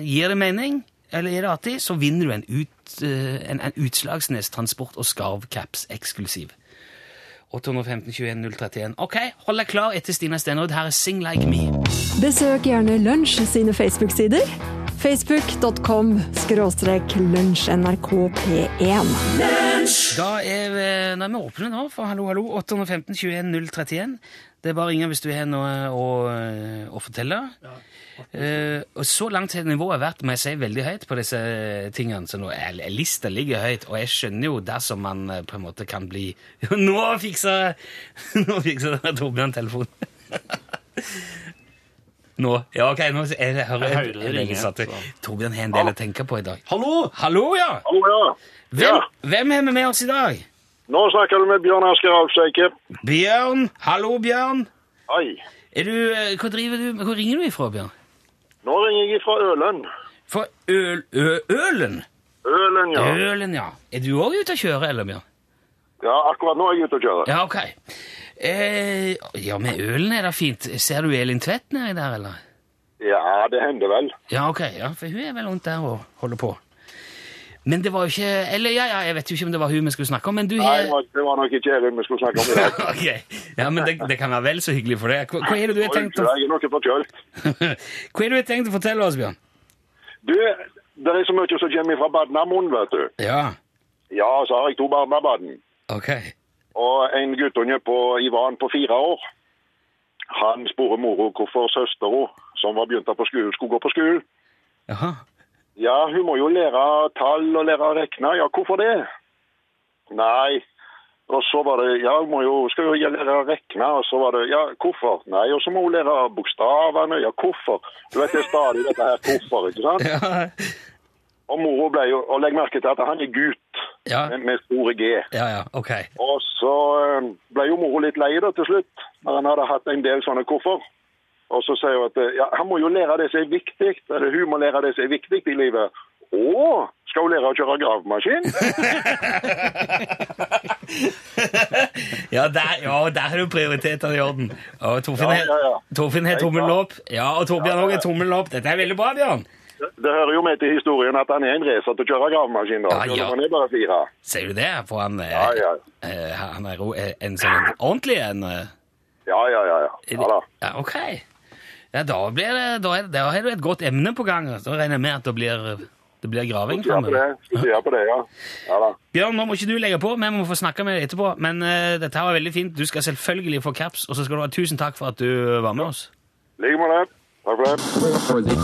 Speaker 2: gir det mening, eller er det artig, så vinner du en, ut, eh, en, en Utslagsnes Transport og Skarv Caps eksklusiv. 815 21 031. Ok, hold deg klar etter Stina Stenerud. Her er Sing Like Me.
Speaker 10: Besøk gjerne Lunsj sine Facebook-sider. Facebook.com skråstrek lunsjnrkp1.
Speaker 2: Da er vi, nei, vi åpner nå for Hallo, hallo. 815 21 031. Det er eh, bare å ringe hvis du har noe å, å fortelle. Eh, og så langt har nivået vært må jeg si, veldig høyt på disse tingene. Så nå er, lista ligger høyt, og jeg skjønner jo dersom man eh, på en måte kan bli [LAUGHS] Nå fikser [LAUGHS] Nå fikser Torbjørn telefonen! [LAUGHS] nå. Ja, OK, nå jeg, jeg hører
Speaker 1: Jeg hører det ringer,
Speaker 2: satt-
Speaker 1: så. Ah.
Speaker 2: Torbjørn har en del å tenke på i dag.
Speaker 1: Hallo!
Speaker 2: Hallo, ja!
Speaker 4: Hallo, ja.
Speaker 2: Hvem, hvem har vi med oss i dag?
Speaker 4: Nå snakker du med Bjørn Asker Alfseike.
Speaker 2: Bjørn, hallo Bjørn.
Speaker 4: Hei.
Speaker 2: Er du, eh, hva driver du, hvor ringer du ifra, Bjørn?
Speaker 4: Nå ringer jeg fra Ølen.
Speaker 2: Fra øl, ø, Ølen?
Speaker 4: Ølen, ja.
Speaker 2: Ølen, ja. Er du også ute å kjøre, eller Bjørn?
Speaker 4: Ja, akkurat nå er jeg ute og kjører.
Speaker 2: Ja, ok. Eh, ja, med Ølen er det fint. Ser du Elin Tvedt nedi der, eller?
Speaker 4: Ja, det hender vel.
Speaker 2: Ja, ok, ja, for hun er vel rundt der og holder på. Men det var jo ikke, eller ja, ja, jeg vet jo ikke om det var hun vi skulle snakke om, men du
Speaker 4: Nei, det
Speaker 2: har...
Speaker 4: var- det var nok ikke Elin vi skulle snakke om i [LAUGHS] dag.
Speaker 2: [LAUGHS] Ok, ja, men det, det kan være vel så hyggelig for deg. Hva, hva er det du har
Speaker 4: Og
Speaker 2: tenkt
Speaker 4: ikke,
Speaker 2: å,
Speaker 4: Jeg er noe forkjølt.
Speaker 2: [LAUGHS] hva er det du har tenkt å fortelle oss, Bjørn?
Speaker 4: Du, det er så mye som kommer fra Badnamon, vet du.
Speaker 2: Ja,
Speaker 4: Ja, så har jeg to barn med Baden.
Speaker 2: ok.
Speaker 4: Og en guttunge på Ivan på fire år. Han spurte moro hvorfor søstera, som var begynt på skolen, skulle gå på skolen.
Speaker 2: Jaha.
Speaker 4: Ja, hun må jo lære tall og lære å rekne. Ja, hvorfor det? Nei. Og så var det Ja, hun må jo, skal jo lære å rekne. Og så var det Ja, hvorfor? Nei. Og så må hun lære bokstavene. Ja, hvorfor? Du vet det er stadig dette her hvorfor, ikke sant?
Speaker 2: Ja,
Speaker 4: Og mora ble jo Og legg merke til at han er gutt
Speaker 2: ja.
Speaker 4: med, med store G.
Speaker 2: Ja, ja, ok.
Speaker 4: Og så eh, ble jo mora litt lei da til slutt, når han hadde hatt en del sånne hvorfor. Og så sier hun at eh, ja, han må jo lære det som er viktig, eller hun må lære det som er viktig i livet. Å, skal hun lære å kjøre gravemaskin? [LAUGHS]
Speaker 2: Ja, der, ja, og der er jo prioritetene i orden. Og Torfinn
Speaker 4: Ja,
Speaker 2: har-
Speaker 4: ja, ja.
Speaker 2: Torfinn har tommelen opp. Ja, og Torbjørn
Speaker 4: Ja,
Speaker 2: òg
Speaker 4: ja.
Speaker 2: har tommelen opp. Dette er veldig bra, Bjørn.
Speaker 4: Det hører jo med til historien at han er en racer til å kjøre gravemaskin, da.
Speaker 2: Ja, ja.
Speaker 4: selv om Han er bare fire.
Speaker 2: Ser du det? For han, eh,
Speaker 4: Ja, ja.
Speaker 2: eh, han er ro- eh, en sånn ordentlig en. eh,
Speaker 4: Ja, ja, ja. ja. ja da.
Speaker 2: Ja, ok. Ja, da, blir det, da, er, da har du et godt emne på gang. Da regner jeg med at det blir, det blir graving
Speaker 4: Studere på det.
Speaker 2: framover.
Speaker 4: Studere på det, ja. Ja da.
Speaker 2: Bjørn, nå må ikke du legge på. Vi må få snakke med deg etterpå. Men eh, dette her var veldig fint. Du skal selvfølgelig få caps, og så skal du ha tusen takk for at du var med oss.
Speaker 4: Ligger med det. Takk for det.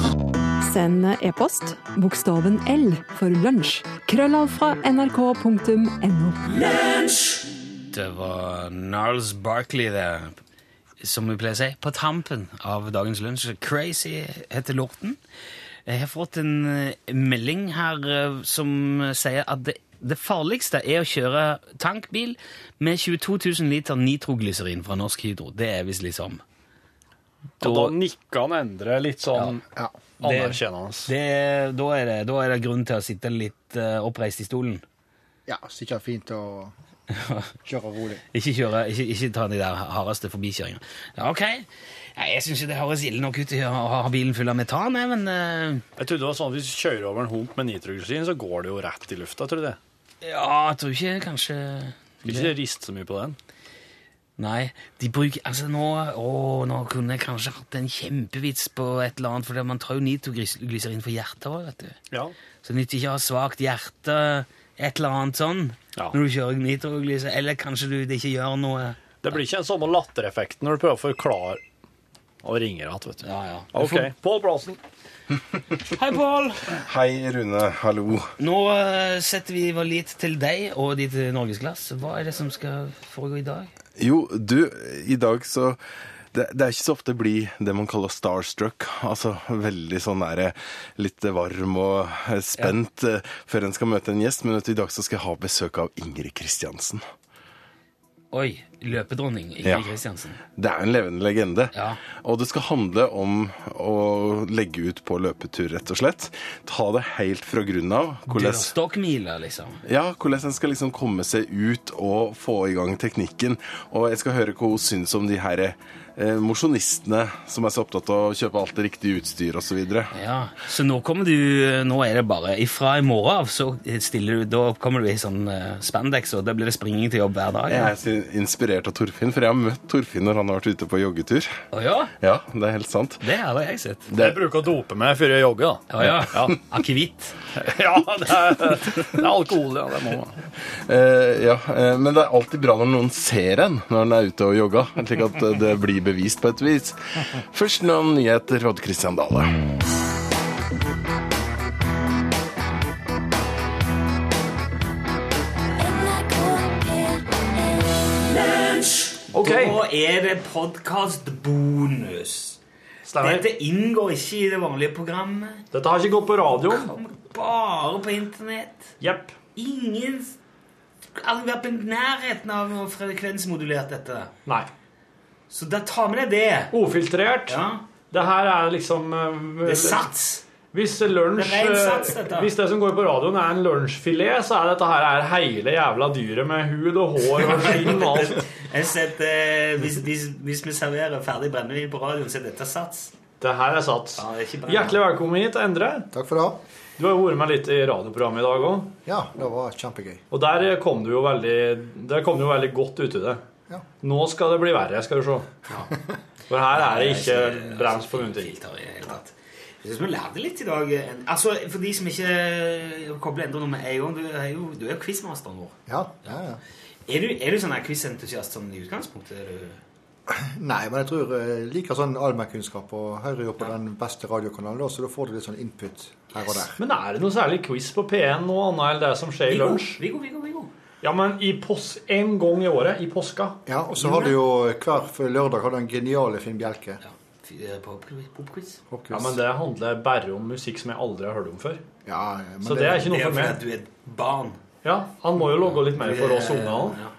Speaker 10: Send e-post bokstaven L for lunsj. Krøllav fra nrk.no.
Speaker 2: Det var Gnarls Barkley der, som vi pleier å si, på tampen av dagens lunsj. Crazy heter lorten. Jeg har fått en eh, melding her eh, som sier at det, det farligste er å kjøre tankbil med 22 000 liter nitroglyserin fra Norsk Hydro. Det er visst liksom
Speaker 6: Og da nikka han Endre litt sånn
Speaker 7: Ja.
Speaker 6: anerkjennende.
Speaker 2: det, da, er det, da er det grunn til å sitte litt eh, oppreist i stolen.
Speaker 7: ja Sikkert fint å kjøre rolig.
Speaker 2: Ikke, kjøre, ikke, ikke ta de der hardeste forbikjøringene. Ja, ok. Nei, jeg syns det høres ille nok ut å ha ha bilen full av metan, jeg, men eh,
Speaker 6: Jeg trodde det var sånn at hvis du kjører over en hump med nitroglyserin, så går det jo rett i lufta, tror du det?
Speaker 2: Ja, jeg tror ikke kanskje
Speaker 6: Skal ikke riste så mye på den.
Speaker 2: Nei, de bruker Altså, nå Å, nå kunne jeg kanskje hatt en kjempevits på et eller annet, for man tar jo nitroglyserin for hjertet òg, vet du.
Speaker 6: Ja.
Speaker 2: Så det nytter ikke å ha svakt hjerte et eller annet sånn
Speaker 6: Ja.
Speaker 2: når du kjører nitroglyset, eller kanskje du det ikke gjør noe.
Speaker 6: Det blir ikke den samme lattereffekten når du prøver å forklare og ringer igjen, vet du.
Speaker 2: Ja, ja.
Speaker 6: OK. Pål Plassen.
Speaker 2: Hei, Pål!
Speaker 9: Hei, Rune. Hallo.
Speaker 2: Nå eh, setter vi vår lit til deg og ditt norgesglass. Hva er det som skal foregå i dag?
Speaker 9: Jo, du, i dag så det, det er ikke så ofte det blir det man kaller starstruck. Altså veldig sånn der, litt varm og eh, spent eh, før en skal møte en gjest. Men vet du, i dag så skal jeg ha besøk av Ingrid Kristiansen.
Speaker 2: Oi, løpedronning Ingrid
Speaker 9: Ja.
Speaker 2: Kristiansen.
Speaker 9: Det er en levende legende.
Speaker 2: Ja.
Speaker 9: Og det skal handle om å legge ut på løpetur, rett og slett. Ta det helt fra grunnen av. Hvordan
Speaker 2: Dørstokkmila, liksom.
Speaker 9: Ja, hvordan en skal liksom komme seg ut og få i gang teknikken. Og jeg skal høre hva hun syns om de her eh, mosjonistene som er så opptatt av å kjøpe alt det riktige utstyr osv.
Speaker 2: Ja, Så nå kommer du Nå er det bare Fra i morgen av så stiller du Da kommer du i sånn eh, spandex, og da blir det springing til jobb hver dag.
Speaker 9: Jeg er så inspirert av Torfinn, for jeg har møtt Torfinn når han har vært ute på joggetur.
Speaker 2: Å ja?
Speaker 9: Ja, det er helt sant.
Speaker 2: Det har jeg sett.
Speaker 9: Det,
Speaker 6: Jeg bruker å dope meg før jeg jogger, da.
Speaker 2: Å ja. Akevitt.
Speaker 6: Ja, det er, [LAUGHS] det er alkohol, ja. Det må man.
Speaker 9: eh, ja, eh, men det er alltid bra når noen ser en når en er ute og jogger, slik at eh, det blir bevist på et vis. Først noen nyheter, Odd Christian Dale.
Speaker 3: NRK P1
Speaker 1: OK.
Speaker 2: Da er det podkastbonus.
Speaker 1: Stemmer.
Speaker 2: Dette inngår ikke i det vanlige programmet.
Speaker 1: Dette har ikke gått på radioen.
Speaker 2: Kommer bare på internett.
Speaker 1: Jepp.
Speaker 2: Ingen Altså, har vært i nærheten av å frekvensmodulert dette.
Speaker 1: Nei.
Speaker 2: Så da tar vi deg det.
Speaker 1: Ofiltrert.
Speaker 2: Ja.
Speaker 1: Det her er liksom eh,
Speaker 2: Det er sats.
Speaker 1: Hvis lunsj
Speaker 2: Det er ren sats, dette.
Speaker 1: eh, Hvis det som går på radioen, er en lunsjfilet, så er dette her er hele jævla dyret med hud og hår og skinn og alt.
Speaker 2: [LAUGHS] Jeg setter, hvis, hvis, hvis vi serverer ferdig brennevin på radioen, så er dette sats.
Speaker 1: Det her er sats.
Speaker 2: Ja, det er ikke bra.
Speaker 1: Hjertelig velkommen hit, Endre.
Speaker 8: Takk for det.
Speaker 1: Du har jo vært med litt i radioprogrammet i dag òg.
Speaker 8: Ja, det var kjempegøy.
Speaker 1: Og der kom du jo veldig, der kom du jo veldig godt ut i det.
Speaker 8: Ja.
Speaker 1: Nå skal det bli verre, skal du se. For her er det ikke brems på noen ting.
Speaker 2: Filter i det hele tatt. Jeg synes vi lærte litt i dag. Altså, For de som ikke eh, kobler endre nummer en gang, du er jo, du er jo quizmaster nå.
Speaker 8: Ja, ja, ja.
Speaker 2: Er du, er du sånn her quizentusiast sånn i utgangspunktet? Er du...
Speaker 8: Nei, men jeg tror jeg liker sånn allmennkunnskap og hører jo på den beste radiokanalen, da, så da får du litt sånn input her og der.
Speaker 1: Men er det noe særlig quiz på P1 nå, annet enn det som skjer i
Speaker 2: Viggo,
Speaker 1: lunsj?
Speaker 2: Viggo, Viggo, Viggo.
Speaker 1: Ja, men i pos en gang i året, i påska.
Speaker 8: Ja, Og så har du jo eh, hver lørdag har du den geniale Finn Bjelke.
Speaker 2: Ja, f- eh, på pop- popquiz.
Speaker 1: Ja, men det handler bare om musikk som jeg aldri har hørt om før.
Speaker 8: Ja, eh, men
Speaker 1: Så det er ikke
Speaker 2: Det
Speaker 1: noe
Speaker 2: er jo
Speaker 1: for
Speaker 2: fordi
Speaker 1: meg.
Speaker 2: at du er et barn.
Speaker 1: Ja, han må jo logge litt mer for oss unge han.
Speaker 2: Ja.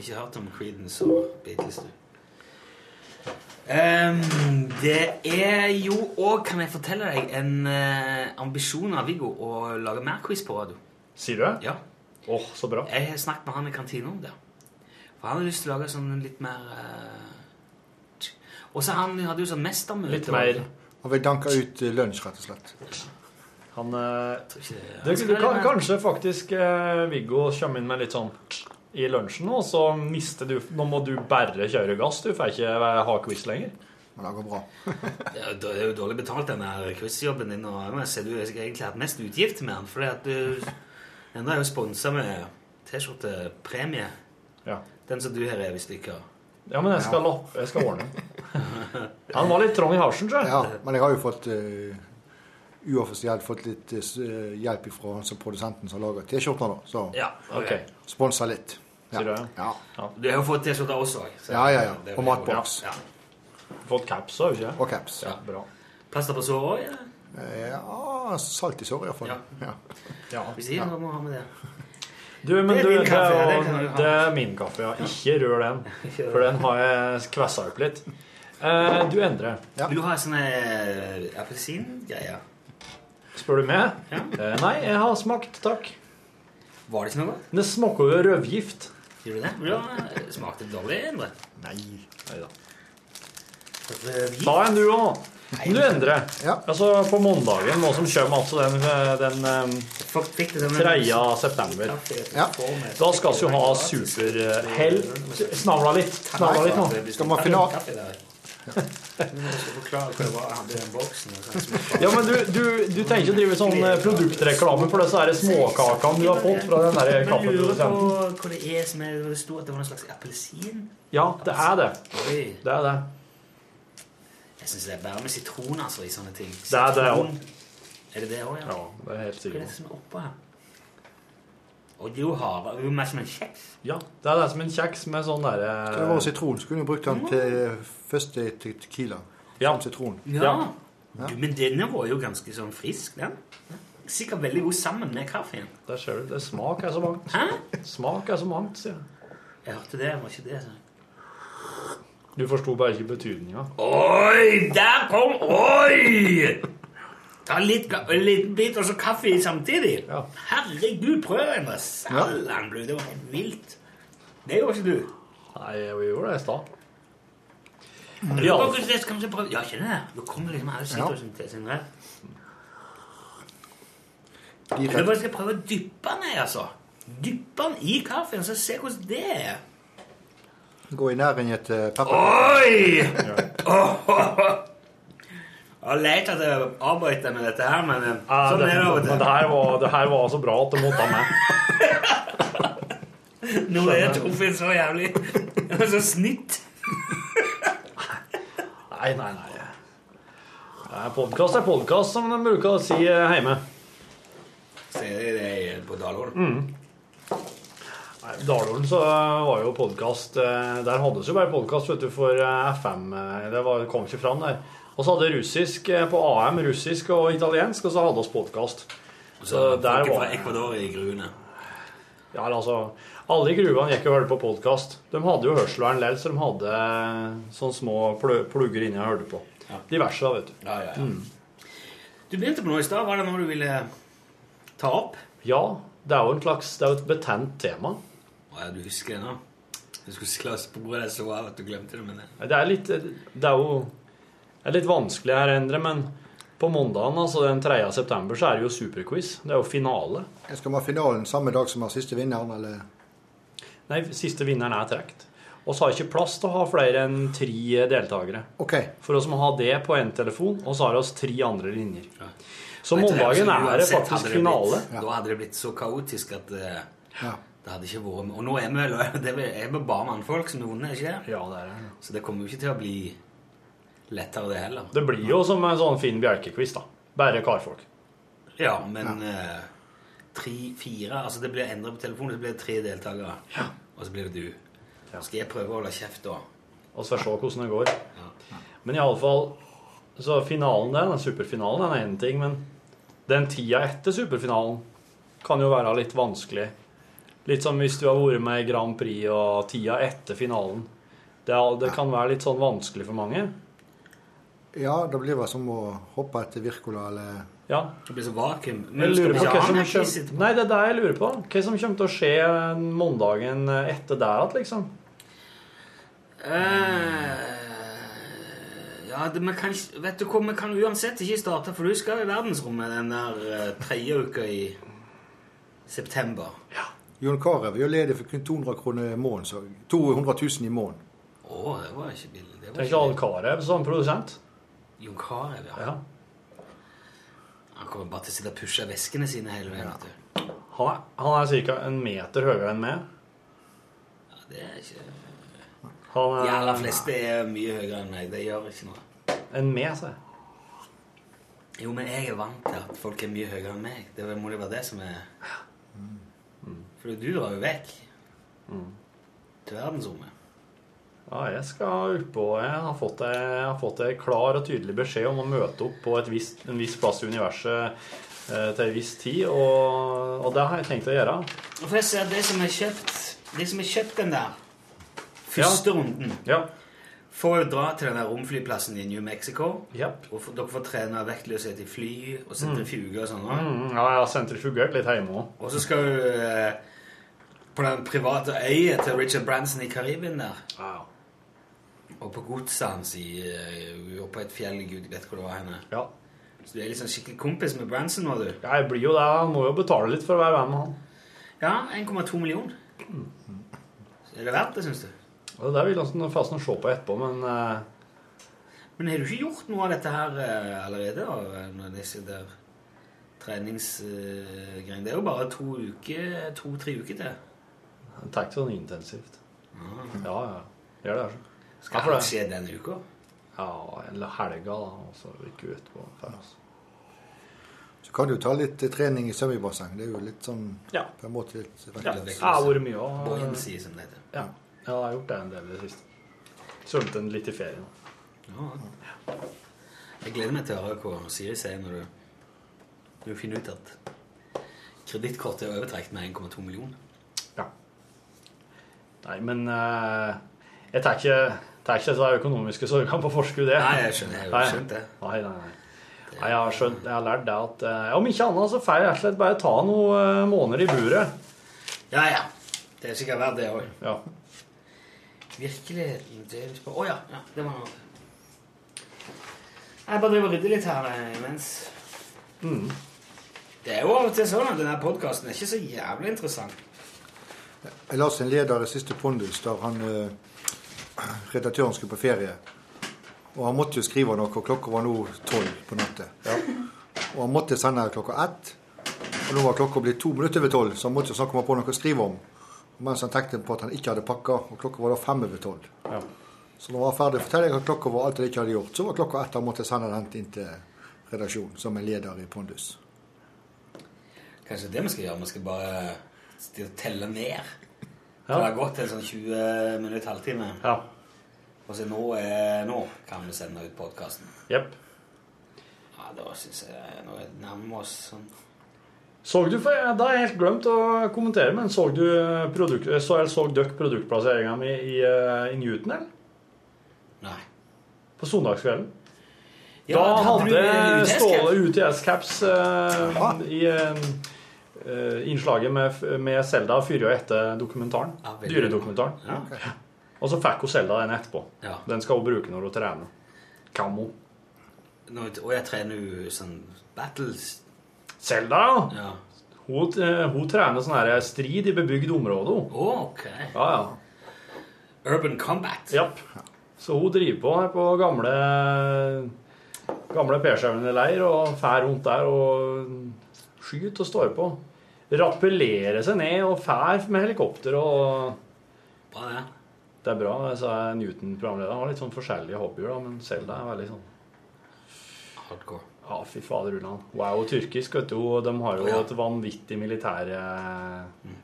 Speaker 2: Ikke hørt om Creedence og Beatles, du. Ehm, det er jo òg, kan jeg fortelle deg, en eh, ambisjon av Viggo å lage mer quiz på radio.
Speaker 1: Sier du det?
Speaker 2: Ja.
Speaker 1: Åh, så bra.
Speaker 2: Jeg har snakket med han i kantina om det. For han har lyst til å lage sånn en litt mer eh, tsk. Og så han hadde jo sånn mestermøte.
Speaker 1: Litt mer.
Speaker 8: Og vi danker ut eh, lunsj, rett og slett.
Speaker 1: Han eh,
Speaker 2: Jeg tror ikke det-
Speaker 1: det,
Speaker 2: han skal
Speaker 1: du kan
Speaker 2: være-
Speaker 1: kanskje faktisk eh, Viggo kommer inn med litt sånn i lunsjen nå, så mister du Nå må du bare kjøre gass, du får ikke være- ha quiz lenger.
Speaker 8: Men det går bra.
Speaker 2: Ja, da- Det er jo dårlig betalt, den der quizjobben din. Og jeg ser du har egentlig hatt mest utgifter med den. Fordi at du Enda er jo sponsa med T-skjortepremie.
Speaker 1: Ja.
Speaker 2: Den som du har revet i stykker.
Speaker 1: ja, men jeg skal lappe. Jeg skal ordne. Han var litt trang i halsen, tror jeg.
Speaker 8: Ja, men jeg har jo fått eh, uoffisielt fått litt eh, s- eh, hjelp fra han som produsenten som lager T-skjorter, da. Så
Speaker 2: Ja,
Speaker 1: Ok.
Speaker 8: sponsa litt. Ja.
Speaker 1: Sier du det?
Speaker 8: Ja.
Speaker 2: Du har jo fått T-skjorter også. så-
Speaker 8: Ja, ja, ja.
Speaker 2: det er
Speaker 8: På
Speaker 2: jo-
Speaker 8: matboks.
Speaker 2: Ja.
Speaker 1: Fått caps òg, ikke
Speaker 8: Og caps. Ja.
Speaker 1: Ja, bra.
Speaker 2: Plaster på såret òg? Ja.
Speaker 8: salt i såret, iallfall.
Speaker 2: Ja.
Speaker 8: Ja.
Speaker 1: Ja.
Speaker 2: Hvis ikke, da må du ha med det.
Speaker 1: Du, men
Speaker 2: Det er
Speaker 1: du,
Speaker 2: din
Speaker 1: det,
Speaker 2: kaffe,
Speaker 1: er,
Speaker 2: det kan du
Speaker 1: jo-
Speaker 2: ha.
Speaker 1: det er min kaffe, ja. Ikke rør den, for den har jeg kvessa opp litt. Eh, du, Endre,
Speaker 8: Ja.
Speaker 2: Vil du ha sånne eh, appelsingreier?
Speaker 1: spør du meg? Eh, nei, jeg har smakt, takk.
Speaker 2: Var det ikke noe godt?
Speaker 1: Men det smaker jo rødgift.
Speaker 2: Gjorde det? Vil du ha- Smakte det dårlig, Endre?
Speaker 1: Nei. da.
Speaker 2: Rødvin?
Speaker 1: Da enn du òg. Men du, Endre,
Speaker 8: Ja.
Speaker 1: altså på mandagen, nå som kommer altså den, den eh,
Speaker 2: Folk fikk det sånn, som en-
Speaker 1: 3. september
Speaker 8: Ja.
Speaker 1: Da skal vi jo ha eh, superhell Snavla litt. Snavla litt nå.
Speaker 8: Skal man finne Du må også forklare hva det var han ble i den boksen. og sånn som jeg
Speaker 1: Ja, men du, du, du trenger ikke drive sånn eh, produktreklame for disse her småkakene du har fått fra den der
Speaker 2: Men jeg lurer på
Speaker 1: kaffeprodusenten.
Speaker 2: hva det er som er Det sto at det var en slags appelsin.
Speaker 1: Ja, det er det.
Speaker 2: Oi.
Speaker 1: Det er det.
Speaker 2: Jeg syns det er bare med sitron altså, i sånne ting.
Speaker 1: Det er det
Speaker 2: Sitron. Er det det òg, ja?
Speaker 1: Det er helt
Speaker 2: Hva er det
Speaker 1: sikkert.
Speaker 2: som er oppå her? Og det er jo hardere. Det er jo mer som en kjeks.
Speaker 1: Ja, det er det som en kjeks med sånn derre
Speaker 7: Det var sitron. Skulle jo brukt den til først til tequila.
Speaker 1: Ja.
Speaker 7: Som sitron.
Speaker 2: Ja. Du, men denne var jo ganske sånn frisk, den. Sikkert veldig god sammen med kaffen.
Speaker 1: Der ser du. Det smak er så mangt. Smak er så mangt, sier jeg.
Speaker 2: Jeg hørte det, var ikke det sånn.
Speaker 1: Du forsto bare ikke betydninga.
Speaker 2: Oi, der kom Oi! Ta litt, ga- en liten bit og så kaffe i samtidig. Herregud, prøv en Sallan, du. Det var helt vilt. Det gjorde ikke du.
Speaker 1: Nei, vi gjorde det i stad.
Speaker 2: Ja.
Speaker 1: Ja.
Speaker 2: Det skal vi ikke prøve. Ja, ikke det? Nå kommer liksom alle sitrusene ja. til. Jeg bare skal prøve å dyppe den i, altså. Dyppe den i kaffen, så se hvordan det er.
Speaker 7: Gå i næring etter pepperkaker.
Speaker 2: Oi! Jeg har lett etter å avbryte med dette her, men eh,
Speaker 1: Ja,
Speaker 2: sånn
Speaker 1: det,
Speaker 2: er det av og
Speaker 1: men det
Speaker 2: til.
Speaker 1: her var, det her var så bra at det måtte ha med.
Speaker 2: Nå er Torfinn så jævlig [LAUGHS] Så snitt.
Speaker 1: Nei, nei, nei. Nei, Podkast er podkast, som de bruker å si eh, hjemme.
Speaker 2: Ser de det i- på Dalhol?
Speaker 1: Nei, I Dalhorn så eh, var jo podkast Der hadde vi jo bare podkast for eh, FM. eh, Det var, kom ikke fram der. Og så hadde russisk eh, på AM, russisk og italiensk, og så hadde vi podkast. Så der
Speaker 2: Folk fra
Speaker 1: var
Speaker 2: Ecuador i gruene.
Speaker 1: Ja, eller altså Alle i gruvene gikk og hørte på podkast. De hadde jo hørselvern likevel, så de hadde eh, sånne små pl plugger inni og hørte på. Diverse, da, vet du. Mm.
Speaker 2: Ja, ja, ja. Du begynte på noe i stad. Var det noe du ville ta opp?
Speaker 1: Ja, det er jo en slags, det er jo et betent tema.
Speaker 2: Å ja, du husker det nå? Du skulle skla sporet deg så av at du glemte det, men det-
Speaker 1: Det er litt, det er jo det er litt vanskelig her, Endre, men på mandagen, altså den 3. september, så er det jo superquiz. Det er jo finale.
Speaker 7: Skal man ha finalen samme dag som har siste vinneren, eller?
Speaker 1: Nei, siste vinneren er trukket. Og så har jeg ikke plass til å ha flere enn tre deltakere.
Speaker 7: OK.
Speaker 1: For oss må ha det på én telefon, og så har vi oss tre andre linjer. Så
Speaker 2: Nei,
Speaker 1: mandagen
Speaker 2: så
Speaker 1: er altså det
Speaker 2: uansett hadde
Speaker 1: faktisk
Speaker 2: blitt-
Speaker 1: finale.
Speaker 2: Da hadde det blitt så kaotisk at eh,
Speaker 7: Ja.
Speaker 2: det hadde ikke vært Og nå er vi vel [LAUGHS] det er vel- er vi bare mannfolk som noen, er ikke det?
Speaker 1: Ja, det er det.
Speaker 2: Så det kommer jo ikke til å bli lettere, det heller.
Speaker 1: Det blir jo som en sånn Finn Bjelke-quiz, da. Bare karfolk.
Speaker 2: Ja, men eh, tre, fire Altså det blir endret på telefonen, så blir det tre deltakere. Og så blir det du. Skal jeg prøve å holde kjeft da?
Speaker 1: Og så får vi se hvordan det går. Men iallfall Så finalen der, den superfinalen, den er én ting, men den tida etter superfinalen kan jo være litt vanskelig. Litt som hvis du har vært med i Grand Prix og tida etter finalen. Det, er, det kan være litt sånn vanskelig for mange.
Speaker 7: Ja, det blir vel som å hoppe etter Virkola eller
Speaker 1: Ja.
Speaker 2: Det blir så vakuum.
Speaker 1: Jeg
Speaker 2: skal
Speaker 1: lurer
Speaker 2: vi
Speaker 1: på
Speaker 2: ikke
Speaker 1: hva
Speaker 2: ha
Speaker 1: som
Speaker 2: en quiz
Speaker 1: kjem-
Speaker 2: etterpå?
Speaker 1: Nei, det er det jeg lurer på. Hva som kommer til å skje mandagen etter der igjen, liksom?
Speaker 2: Eh, ja, det, men kan, ikke- vet du hva, vi kan uansett ikke starte, for du skal i verdensrommet den der eh, tredje uka i september.
Speaker 7: Jon Carew er jo ledig for kun 200 kroner i måneden. Så 200 000 i måneden.
Speaker 2: Å, det var ikke billig. Det
Speaker 1: Tenk
Speaker 2: var
Speaker 1: deg
Speaker 2: ikke
Speaker 1: Al Carew som produsent.
Speaker 2: Jon Carew, ja.
Speaker 1: Ja.
Speaker 2: Han kommer bare til å sitte og pushe veskene sine hele veien. vet du.
Speaker 1: Han er, han er ca. en meter høyere enn meg.
Speaker 2: Ja, det er ikke...
Speaker 1: Han
Speaker 2: De
Speaker 1: er
Speaker 2: aller fleste er mye høyere enn meg. Det gjør ikke noe.
Speaker 1: en med seg.
Speaker 2: Jo, men jeg er vant til at folk er mye høyere enn meg. Det må det være det som er
Speaker 1: Mm.
Speaker 2: For du drar jo vekk til verdensrommet.
Speaker 1: Ja, jeg skal oppå Jeg har fått ei- jeg har fått ei klar og tydelig beskjed om å møte opp på et visst, en viss plass i universet eh, til en viss tid, og, og det har jeg tenkt å gjøre.
Speaker 2: Og for jeg ser at de som har kjøpt De som har kjøpt den der første runden,
Speaker 1: Ja.
Speaker 2: får jo dra til den der romflyplassen i New Mexico.
Speaker 1: Japp.
Speaker 2: Og får- dere får trene vektløshet i fly og sentrifuge og sånn. også.
Speaker 1: Mm, ja, jeg har sentrifugert litt hjemme òg.
Speaker 2: Og så skal du eh, på den private øya til Richard Branson i Karibien der. Og på godset hans i, eh, oppe på et fjell Gud vet hvor det var henne.
Speaker 1: Ja.
Speaker 2: Så du er liksom skikkelig kompis med Branson nå, du.
Speaker 1: Ja, Jeg blir jo det. Han må jo betale litt for å være venn med han.
Speaker 2: Ja, 1,2 millioner. Er det verdt det, syns du?
Speaker 1: Og det der vil han sånn- fasen å se på etterpå, men eh,
Speaker 2: Men har du ikke gjort noe av dette her eh, allerede? da, med disse der treningsgreiene? Det er jo bare to uker, to-tre uker til.
Speaker 1: Jeg tar ikke sånn intensivt. Ja, ja. Mm. Gjør det, altså.
Speaker 2: Skal
Speaker 1: Ja, for
Speaker 2: alt
Speaker 1: det-
Speaker 2: skje denne uka?
Speaker 1: Ja, eller helga, da. Og så uke etterpå. Ferdig, altså.
Speaker 8: Så kan du ta litt eh, trening i svømmebasseng. Det er jo litt sånn
Speaker 1: Ja.
Speaker 8: på en måte litt
Speaker 1: Ja, jeg har vært mye òg.
Speaker 2: Buoyancy, som det heter.
Speaker 1: Ja. ja, jeg har gjort det en del i det siste. Svømte en litt i ferien.
Speaker 2: Ja. Jeg gleder meg til å høre hva Siri sier når du, når du finner ut at kredittkortet er overtrukket med 1,2 millioner.
Speaker 1: Nei, men eh, jeg tar ikke, tar ikke disse økonomiske sorgene på forskudd. jeg.
Speaker 2: Nei, jeg skjønner, jeg har
Speaker 1: Nei.
Speaker 2: skjønt det.
Speaker 1: Nei, nei, nei. Nei, jeg har, skjønt, jeg har lært det at eh, om ikke annet så får jeg rett og slett bare ta noen eh, måneder i buret.
Speaker 2: Ja, ja. Det er sikkert verdt det òg.
Speaker 1: Ja.
Speaker 2: Virkeligheten James Bond Å ja, ja. Det var noe. Jeg bare driver og rydder litt her eh, imens. Mm. Det er jo av og til sånn at denne podkasten er ikke så jævlig interessant.
Speaker 8: Jeg leste en leder i siste pondus der han eh, redaktøren skulle på ferie. Og han måtte jo skrive noe, og klokka var nå tolv på nettet. Og han måtte sende klokka ett. Og nå var klokka blitt to minutter over tolv, så han måtte jo snakke om å få noe å skrive om. Mens han tenkte på at han ikke hadde pakka, og klokka var da fem over tolv. Så når han var ferdig å fortelle hva klokka var, alt han ikke hadde gjort, så var klokka ett han måtte sende den inn til redaksjonen som en leder i pondus.
Speaker 2: Kanskje det vi skal gjøre? Vi skal bare sti- telle ned.
Speaker 1: Ja.
Speaker 2: Det har gått en sånn 20 minutter, halvtime. Og så nå, er, nå kan vi sende ut podkasten.
Speaker 1: Jepp.
Speaker 2: Ja, da syns jeg nå er det nærmer oss sånn
Speaker 1: Så du, for jeg, Da har jeg helt glemt å kommentere, men så du produkt, så, eller så dere produktplasseringa mi i, eh, i Newton, eller?
Speaker 2: Nei.
Speaker 1: På søndagskvelden?
Speaker 2: Ja,
Speaker 1: da
Speaker 2: hadde du
Speaker 1: hadde
Speaker 2: UTS -caps?
Speaker 1: Ståle UTS-caps eh, i eh, eh, innslaget med, med Selda før og etter dokumentaren.
Speaker 2: veldig bra.
Speaker 1: dyredokumentaren.
Speaker 2: Ja, ok.
Speaker 1: [LAUGHS] Og så fikk hun Selda den etterpå.
Speaker 2: Ja.
Speaker 1: Den skal hun bruke når hun trener. Kammo.
Speaker 2: Nå, Og jeg trener jo sånn battles.
Speaker 1: Selda, ja. Hun, eh, hun trener sånn her strid i bebygd område. hun. Ja, ja.
Speaker 2: Urban combat.
Speaker 1: Japp. Så hun driver på her på gamle Gamle Persjauene leir og fær rundt der og skyter og står på. Rappellerer seg ned og fær med helikopter og
Speaker 2: Bra, det.
Speaker 1: Det er bra, sa Newton-programlederen. Han har litt sånn forskjellige hobbyer, da, men Selda er veldig sånn
Speaker 2: Hardcore.
Speaker 1: Ja, fy fader, Ulland. Hun er jo tyrkisk, vet du. og De har jo
Speaker 2: Ja.
Speaker 1: et vanvittig eh,
Speaker 8: Mm.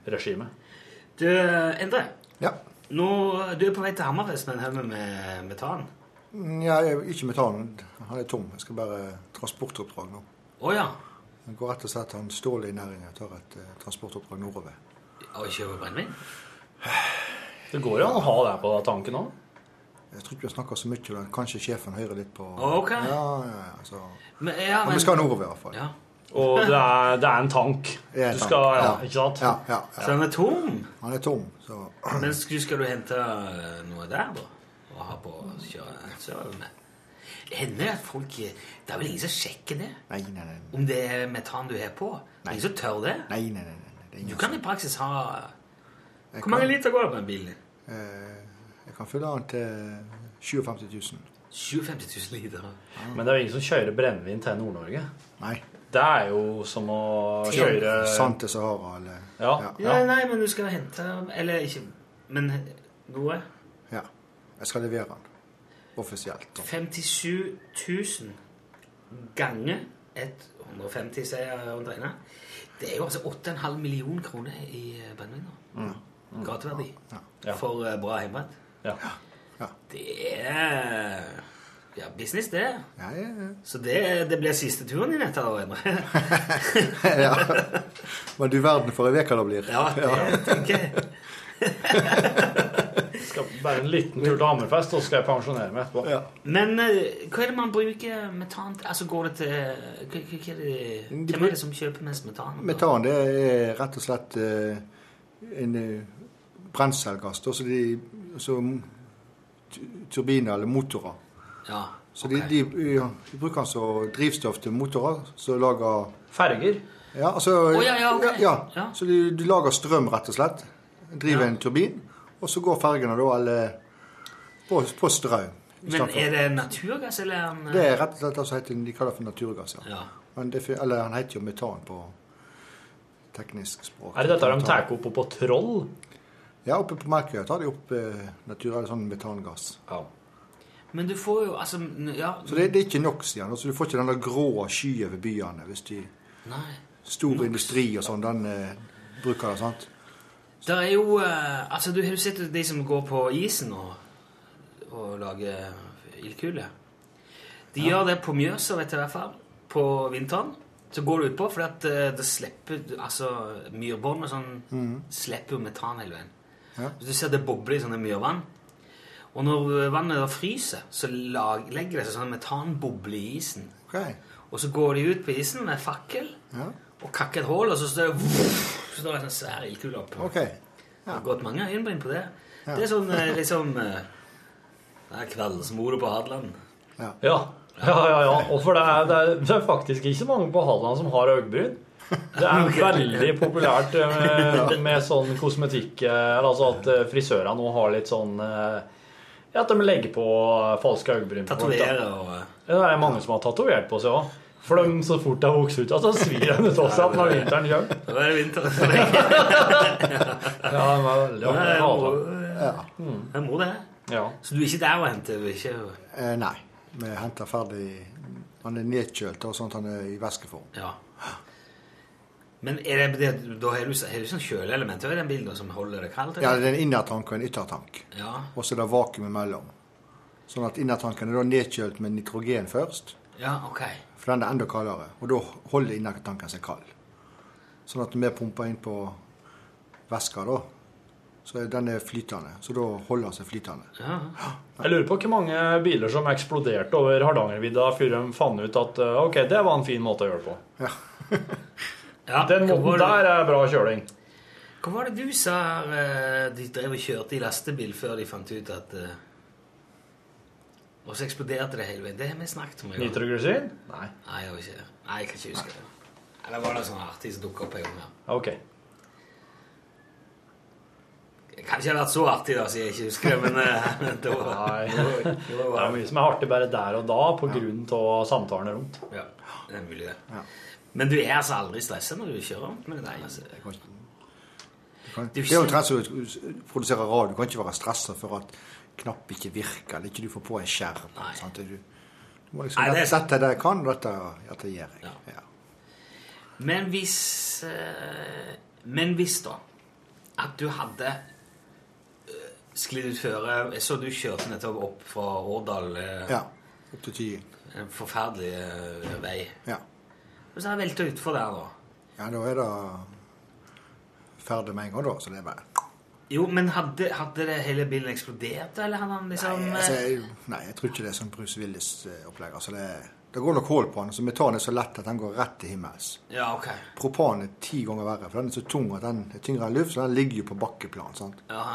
Speaker 1: militærregime.
Speaker 2: Du, Endre. Nå, du er på vei til Hammerfest med en haug med metan.
Speaker 8: Mm, Ja, jeg, ikke metan. Han er tom. Jeg skal bare transportoppdrag nå.
Speaker 2: Å ja.
Speaker 8: Jeg går rett og slett han Ståle i næringen og tar et eh, transportoppdrag nordover.
Speaker 2: Og kjøper brennevin.
Speaker 1: Det går jo an å ha det på tanken òg.
Speaker 8: Jeg tror ikke vi snakker så mye om det. Kanskje sjefen hører litt på
Speaker 1: Ah, Ok.
Speaker 8: Ja, ja, ja, så.
Speaker 2: Men,
Speaker 8: men... vi skal nordover i hvert fall. [LAUGHS]
Speaker 1: Og det er, det er en tank.
Speaker 8: Det er en
Speaker 1: du skal,
Speaker 8: tank,
Speaker 1: ja,
Speaker 8: ja.
Speaker 1: Ikke sant?
Speaker 2: Så han er tom?
Speaker 8: Han er tom, så [CLEARS THROAT]
Speaker 2: Men skal, skal du hente eh, noe der, da? Og ha på å kjøre sørover med? Det hender at folk eh, Det er vel ingen som sjekker det?
Speaker 8: Nei, nei, nei.
Speaker 2: Om det er metan du har på? Det er ingen som tør det?
Speaker 8: Nei, nei, nei. nei. Det er
Speaker 2: Du
Speaker 8: ingen
Speaker 2: kan i praksis ha
Speaker 8: Jeg
Speaker 2: Hvor mange
Speaker 8: kan-
Speaker 2: liter går det på en bil?
Speaker 8: Eh, jeg kan fylle han til eh, 57 000.
Speaker 2: 57 000 liter.
Speaker 1: Men det er jo ingen som kjører brennevin til Nord-Norge.
Speaker 8: Nei.
Speaker 1: Det er jo som å kjøre
Speaker 8: Sand til Sahara, eller
Speaker 1: Eh. Ja.
Speaker 2: Ja, nei, men du skal hente Eller ikke Men noe?
Speaker 8: Ja. Jeg skal levere han. Offisielt.
Speaker 2: 57 000 ganger 150, sier jeg rundt regnet. Det er jo altså 8,5 millioner kroner i eh, brennevin. da.
Speaker 1: Mm.
Speaker 2: Gateverdi. For eh, bra hjemmebrent.
Speaker 1: Ja.
Speaker 2: Det er ja, business, det.
Speaker 8: Ja, ja, ja. [LAUGHS]
Speaker 2: Så det, det blir siste turen din etter år, Endre.
Speaker 8: ja. Men du verden for ei uke det blir.
Speaker 2: Ja, [LAUGHS] det tenker jeg.
Speaker 1: Skal bare en liten tur til Hammerfest, så skal jeg pensjonere meg etterpå.
Speaker 2: Men eh, hva er det man bruker metan til? Altså går det til hva, hva, hva er det, Hvem er det som kjøper mest metan?
Speaker 8: Metan det er rett og slett eh, en eh, brenselgass. da, Så de så tu- turbiner eller motorer.
Speaker 2: Ja,
Speaker 8: Så de, de, ja, de bruker den som drivstoff til motorer som lager
Speaker 1: Ferger?
Speaker 8: Ja, altså
Speaker 2: Å, ja, ja, ok.
Speaker 8: ja, ja. Så du, du lager strøm, rett og slett. Driver en turbin, og så går fergene da eller på, på strøm. Vi
Speaker 2: Men
Speaker 8: snakker om-
Speaker 2: er det naturgass, eller er den, eh,
Speaker 8: Det er rett og slett altså heter, de kaller det for naturgass. Ja.
Speaker 2: Ja.
Speaker 8: Men det, fin- eller han heter jo metan på teknisk språk.
Speaker 1: Er det dette de
Speaker 8: Metan.
Speaker 1: tar opp på Troll?
Speaker 8: Ja, oppe på Merkøya tar de opp eh, natur, eller sånn metangass.
Speaker 2: Men du får jo altså n- Ja.
Speaker 8: Så det, det er ikke nok, sier han. Altså, du får ikke denne grå sky over byene hvis de
Speaker 2: Nei.
Speaker 8: stor industri og sånn, den eh, bruker det, sant?
Speaker 2: Der er jo eh, Altså, du har jo sett de som går på isen og, og lager ildkuler. De gjør det på Mjøsa, vet du i hvert fall, på vinteren. Så går du utpå, fordi at eh, det slipper Altså, myrbånd og sånn
Speaker 11: Mhm.
Speaker 2: slipper jo metan hele veien.
Speaker 11: Ja.
Speaker 2: Så Du ser det bobler i sånne myrvann. Og når vannet da fryser, så lag, legger det seg sånn metanboble i isen. Og så går de ut på isen med fakkel
Speaker 8: Ja.
Speaker 2: og kakker et hull, og så står det [LAUGHS] så står det en sånn svær ildkule opp. Det har gått mange øyenbryn på det.
Speaker 8: Ja.
Speaker 2: Det er sånn eh, liksom eh, Det er kveldsmordet på Hadeland.
Speaker 1: Ja. Ja, ja, ja. Og for det er, det, er, det er faktisk ikke så mange på Hadeland som har øyebryn. Det [LAUGHS] er veldig populært med, med sånn kosmetikk eh, Altså at eh, frisører nå har litt sånn eh, ja, At de legger på eh, falske øyebryn. på folk, da.
Speaker 2: Tatoverer og eh,
Speaker 1: Ja, Det er mange som har tatovert på seg òg. For de, så fort de vokser ut, altså, svir de ut av seg når vinteren kommer.
Speaker 2: Da er det vinter.
Speaker 1: [LAUGHS] Ja, det var veldig artig.
Speaker 2: Nei, jeg må-
Speaker 8: Ja.
Speaker 2: Jeg må det. Så du er ikke der og henter? du er Ikke...
Speaker 8: Eh, nei. Vi henter ferdig Han er nedkjølt og sånt, han er i væskeform.
Speaker 2: Ja. Men er det, det, da har du, har du sånn kjøleelement i den bilen som holder det kaldt?
Speaker 8: Ja, det er en innertank og en yttertank.
Speaker 2: Ja.
Speaker 8: Og så er det vakuum imellom. Sånn at innertanken er da nedkjølt med nitrogen først,
Speaker 2: ja, ok.
Speaker 8: for den er enda kaldere. Og da holder innertanken seg kald. Sånn at når vi pumper inn på væska, da, så er den er flytende. Så da holder den seg flytende.
Speaker 1: Jeg lurer på hvor mange biler som eksploderte over Hardangervidda før de fant ut at eh, ok, det var en fin måte å gjøre det på. Den
Speaker 2: hva var
Speaker 1: måten der er bra kjøling.
Speaker 2: Hva var det du sa eh, de drev og kjørte i lastebil før de fant ut at eh, Og så eksploderte det hele veien. Det har vi snakket om. i går.
Speaker 1: Nitroglyserin? Nei.
Speaker 2: Nei, jeg, var ikke, nei, jeg kan ikke huske det. Eller var det sånn artig som dukket opp en gang? ja.
Speaker 1: Ok.
Speaker 2: Det kan ikke ha vært så artig, da, siden jeg ikke husker det, men eh, [LAUGHS] men det var
Speaker 1: Nei.
Speaker 2: det
Speaker 1: Det er mye som er artig bare der og da på grunn av samtalene rundt.
Speaker 2: var- Ja, det er mulig, det. Men du er altså aldri stressa når du kjører rundt med det der? Altså.
Speaker 8: Du kan-
Speaker 2: Det er jo
Speaker 8: Det er jo
Speaker 2: ikke-
Speaker 8: omtrent som å produsere radio. Du kan ikke være stressa for at knapp ikke virker, eller ikke du får på en skjerm. Sant? Du, du må liksom,
Speaker 2: Nei, det er-
Speaker 8: Dette der kan, og dette, dette gjør jeg. Ja.
Speaker 2: Men hvis eh, Men hvis, da, at du hadde eh, sklidd ut føre Jeg så du kjørte nettopp opp fra Årdal. eh,
Speaker 8: Ja. Opp til ti.
Speaker 2: En forferdelig eh, vei.
Speaker 8: Ja.
Speaker 2: Og så har jeg velta utfor der, da.
Speaker 8: ja, da er det ferdig med en gang, da. Så det er bare
Speaker 2: Jo, men hadde, hadde det hele bilen eksplodert, eller hadde han liksom
Speaker 8: Nei, altså, jeg, nei, jeg tror ikke det er sånn Bruce Willis-opplegg. Altså, det, det går nok hull på den. Så metan er så lett at den går rett til himmels.
Speaker 2: eh, Ja, ok.
Speaker 8: Propan er ti ganger verre, for den er så tung at den er tyngre enn luft, så den ligger jo på bakkeplan. sant?
Speaker 2: Ja.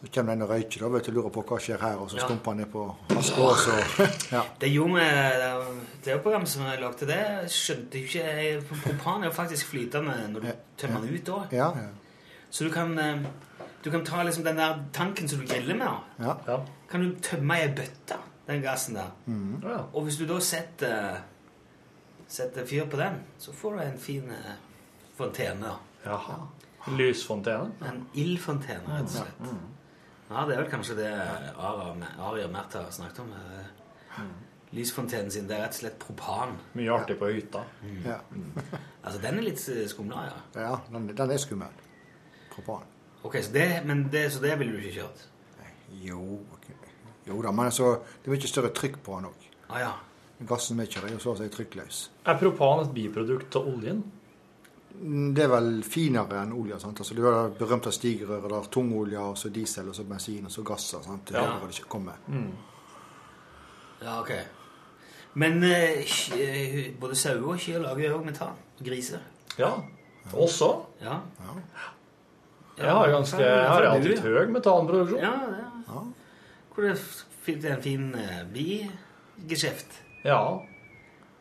Speaker 8: Så kommer den og røyker, da vet du, lurer på hva skjer her, og så
Speaker 2: Ja.
Speaker 8: stumper han ned på Askås og ja.
Speaker 2: Det gjorde vi det- Det er jo programmet som jeg lagde det, skjønte jo ikke jeg- Propan er jo faktisk flytende når du tømmer den ut da.
Speaker 8: [LAUGHS] Ja, ja.
Speaker 2: Så du kan eh, Du kan ta liksom den der tanken som du griller med, da.
Speaker 8: ja.
Speaker 2: kan du tømme i ei bøtte, den gassen der.
Speaker 8: Mhm.
Speaker 2: Og hvis du da setter Setter fyr på den, så får du en fin eh, fontene. da.
Speaker 1: Jaha. Lysfontene?
Speaker 2: En ildfontene, rett og slett. Ja, mm. det er vel kanskje det Ara- Ari og Märtha har snakket om. eh, Lysfontenen sin. Det er rett og slett propan.
Speaker 1: Mye artig på hytta.
Speaker 8: Ja.
Speaker 2: Altså, den er litt eh, skumlere, ja.
Speaker 8: ja den, den er skummel. Propan.
Speaker 2: Ok, så det, men det, så det ville du ikke kjørt?
Speaker 8: Jo, ok. jo da, men altså, det er mye større trykk på den òg.
Speaker 2: Ah, ja.
Speaker 8: Gassen vi kjører, er jo så å si trykkløs.
Speaker 1: Er propan et biprodukt av oljen?
Speaker 8: Mm, Det er vel finere enn olje. sant? Altså, du har det berømte stigerøret der. Tungolje, og så diesel, og så bensin, og så gasser. sant? Det er
Speaker 2: Ja.
Speaker 8: der det ikke kommer.
Speaker 2: Ja, ok. Men eh, ky- eh, både sauer og kyr lager jo også metan. Og griser.
Speaker 1: Ja. Også?
Speaker 2: Ja.
Speaker 1: Jeg har jo ganske Jeg har relativt høy metanproduksjon.
Speaker 2: Ja, det er. Hvor det f- fint- det er en fin eh, bigeskjeft.
Speaker 1: Ja.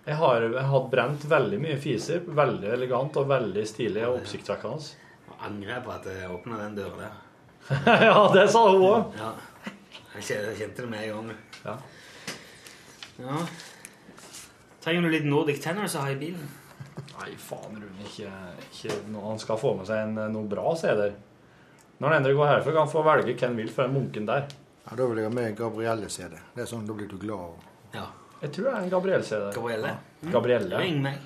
Speaker 1: Jeg har, jeg har brent veldig mye fiser. Veldig elegant og veldig stilig og oppsiktsvekkende.
Speaker 2: Angrer jeg på at jeg åpna den døra der.
Speaker 1: ja, det sa hun òg.
Speaker 2: Ja. Jeg kjente- jeg kjente det med en gang. Ja. Trenger du litt Nordic Tenor, så har jeg bilen.
Speaker 1: Nei, faen, Rune. Ikke, ikke noe- Han skal få med seg en, noen bra CD-er. Når han endelig går herfra, kan han få velge hvem han vil fra den munken der.
Speaker 8: Ja, da vil jeg ha med Gabrielle-CD. Det er sånn, Da blir du glad. og-
Speaker 1: Jeg tror det er en Gabrielle-CD.
Speaker 2: Gabrielle?
Speaker 1: Ja. Gabrielle.
Speaker 2: Ring meg.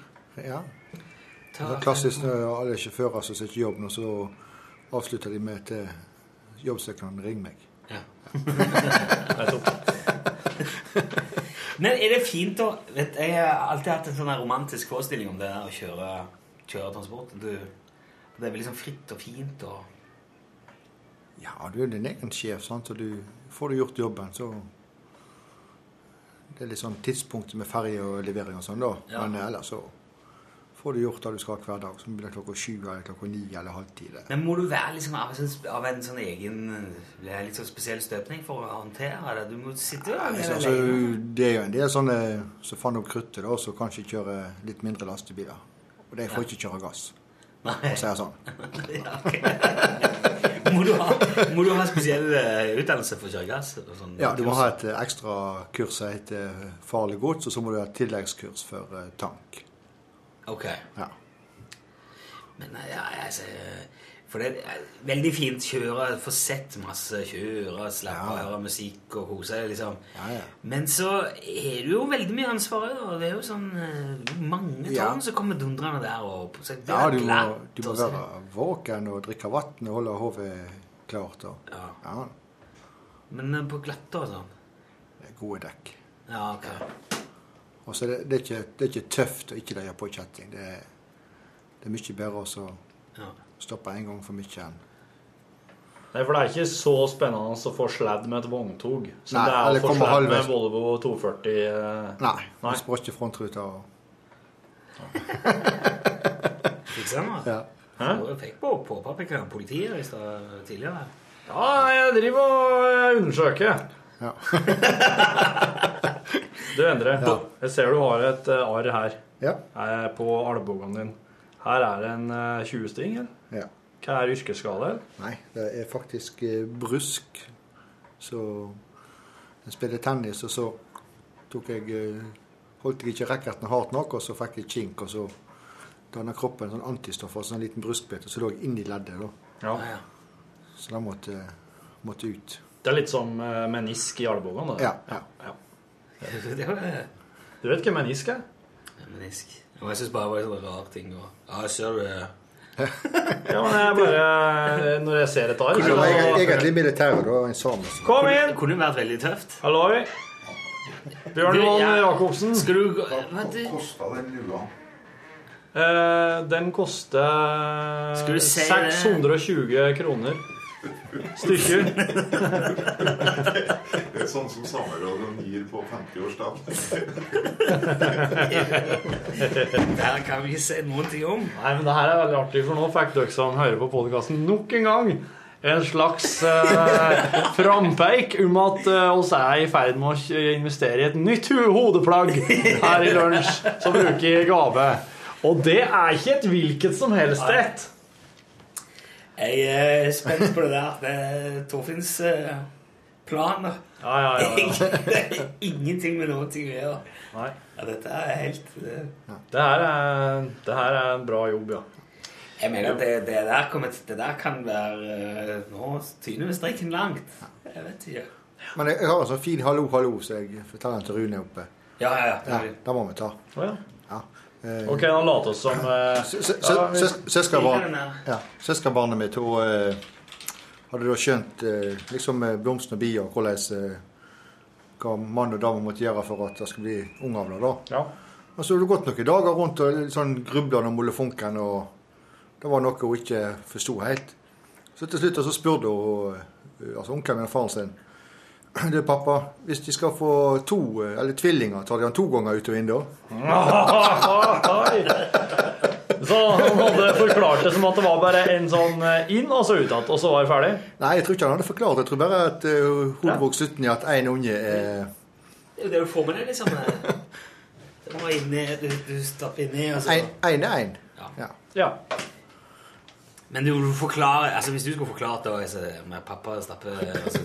Speaker 8: Ja. Det er klassisk når alle sjåfører som sitter i jobben, og så avslutter de med til jobbsøknaden 'ring meg'.
Speaker 2: Ja. Men er det fint å vet, Jeg har alltid hatt en sånn her romantisk forestilling om det der å kjøre, kjøre transport. Du, det er vel liksom fritt og fint og
Speaker 8: Ja, du er din egen sjef, sant? så du får du gjort jobben, så Det er litt sånn tidspunktet med ferje og levering og sånn, da.
Speaker 2: Ja.
Speaker 8: Men ellers så får du gjort det du skal hver dag. Så blir det klokka sju eller klokka ni eller halv ti. det.
Speaker 2: Men må du være liksom av, en sånn- av en sånn egen det er litt sånn spesiell støpning for å håndtere det? Du må sitte der
Speaker 8: Altså,
Speaker 2: hele
Speaker 8: altså,
Speaker 2: veien.
Speaker 8: det er jo en del sånne som fant opp kruttet, da, som kanskje kjører litt mindre lastebiler. Og de
Speaker 2: Ja.
Speaker 8: får ikke kjøre gass,
Speaker 2: Nei.
Speaker 8: for å si det
Speaker 2: [LAUGHS]
Speaker 8: sånn.
Speaker 2: Ja, ok. må, du ha, må du ha spesiell eh, utdannelse for å kjøre gass? og sånn?
Speaker 8: Ja, du må ha et eh, ekstra kurs som heter farlig gods, og så må du ha et tilleggskurs for eh, tank.
Speaker 2: Ok.
Speaker 8: Ja.
Speaker 2: Men nei, ja, altså For det er veldig fint kjøre, få sett masse, kjøre, slappe av, høre musikk og kose deg, liksom. Men så er du jo veldig mye ansvar òg. Det er jo sånn eh, mange
Speaker 8: Ja.
Speaker 2: tonn som kommer dundrende der. Og, så det
Speaker 8: Ja,
Speaker 2: er
Speaker 8: du må,
Speaker 2: glatt,
Speaker 8: du må
Speaker 2: og sånn. så-
Speaker 8: være våken og drikke vann og holde hodet klart. Og, ja.
Speaker 2: Men eh, på glatta og sånn.
Speaker 8: Det er gode dekk.
Speaker 2: Ja, ok.
Speaker 8: Og så er det, det, er ikke, det er ikke tøft å ikke leie på kjetting. Det er, det er mye bedre også
Speaker 2: å
Speaker 8: stoppe en gang for mye enn
Speaker 1: Nei, for det er ikke så spennende å få sladd med et vogntog som
Speaker 8: Nei,
Speaker 1: det er
Speaker 8: eller
Speaker 1: å få
Speaker 8: komme
Speaker 1: sladd med
Speaker 8: halvveis.
Speaker 1: Volvo 240. eh,
Speaker 8: Nei. nei. Språkje frontruta og
Speaker 2: Fikk se nå.
Speaker 8: Ja.
Speaker 2: Hæ? Fikk på påpapika politiet i stad tidligere. [LAUGHS]
Speaker 1: Ja, jeg driver og eh, undersøker. [LAUGHS] du, Endre. Jeg ser du har et eh, arr her Eh, på albuen din. Her er det en eh, 20-sting, eller?
Speaker 8: Ja.
Speaker 1: Hva er yrkesskade? eller?
Speaker 8: Nei, det er faktisk eh, brusk. Så jeg spilte tennis, og så tok jeg eh, Holdt jeg ikke racketen hardt nok, og så fikk jeg kink, og så danna kroppen sånn antistoffer, sånn en liten bruskbit, og så lå jeg inni leddet, da. Så da måtte, måtte ut.
Speaker 1: Det er litt som eh, menisk i albuen.
Speaker 8: Ja, ja.
Speaker 1: Du vet hva menisk er?
Speaker 2: Menisk. Og jeg syns bare det var en sånn rar ting. Og, ja, jeg ser det.
Speaker 1: Ja, men jeg bare eh, Når jeg ser et arr
Speaker 8: Det var
Speaker 1: så-
Speaker 8: eg- egentlig militæret, da. En samisk.
Speaker 1: Kom inn!
Speaker 2: Det kunne jo vært veldig tøft.
Speaker 1: Halloi. Bjørn
Speaker 2: Du,
Speaker 1: Johan
Speaker 2: jeg-
Speaker 1: Jacobsen.
Speaker 2: Skal du gå- Hva
Speaker 1: kosta den lua? Eh, den koster
Speaker 2: Skal du si det?
Speaker 1: 620 kroner stykket.
Speaker 4: Det er sånn som Sameradioen gir på 50-årsdagen.
Speaker 2: Det her kan vi ikke si noen ting om.
Speaker 1: Nei, men det her er veldig artig, for nå fikk dere som hører på podkasten nok en gang en slags [LAUGHS] eh, frampeik om at eh, oss er i ferd med å kj- investere i et nytt ho- hodeplagg her i lunsj som bruker gave. Og det er ikke et hvilket som helst et.
Speaker 2: Jeg er spent på det der. Det er Torfinns eh, planer.
Speaker 1: Ja, ja,
Speaker 2: [LAUGHS]
Speaker 1: ja, ja.
Speaker 2: Det er ingenting med noen ting å gjøre.
Speaker 1: Nei.
Speaker 2: Ja, dette er helt eh,
Speaker 1: Det her er, det her er en bra [LAUGHS] jobb, ja.
Speaker 2: Jeg mener at det, det, der, kommer, det der kan være eh, Nå tyner vi strikken langt. Jeg vet ikke.
Speaker 8: Men jeg, jeg har en sånn fin hallo, hallo, så jeg forteller den til Rune oppe.
Speaker 2: Ja, ja, ja.
Speaker 8: Da må vi ta.
Speaker 1: Å, ja.
Speaker 8: Eh,
Speaker 1: Ok, han later oss som eh,
Speaker 8: sø-
Speaker 1: ja, vi-
Speaker 8: søs- Søskenbarn, ja, søskenbarnet mitt hun eh, hadde da skjønt eh, liksom eh, blomsten og bia og hvordan eh, hva mann og dame måtte gjøre for at det skulle bli ungavler. da. Og så har det gått noen dager rundt og litt sånn grubla om molefonken, og det var noe hun ikke forsto helt. Så til slutt så spurte hun eh, altså onkelen min og faren sin du, pappa, hvis de skal få to, eh, eller tvillinger, tar de han to ganger ut og inn da?
Speaker 1: Så han hadde forklart det som at det var bare en sånn eh, inn og så utad, og så var det ferdig?
Speaker 8: Nei, jeg tror ikke han hadde forklart. Jeg tror bare at uh, hun vokste ut i at én unge er
Speaker 2: Det er jo det du får med deg, liksom. eh. [LAUGHS] Du må inni, du, du stapper inni, og så
Speaker 8: Én er én. Ja.
Speaker 1: Ja.
Speaker 2: Men du, du forklarer, altså hvis du skulle forklart da altså, med pappa stappe, altså,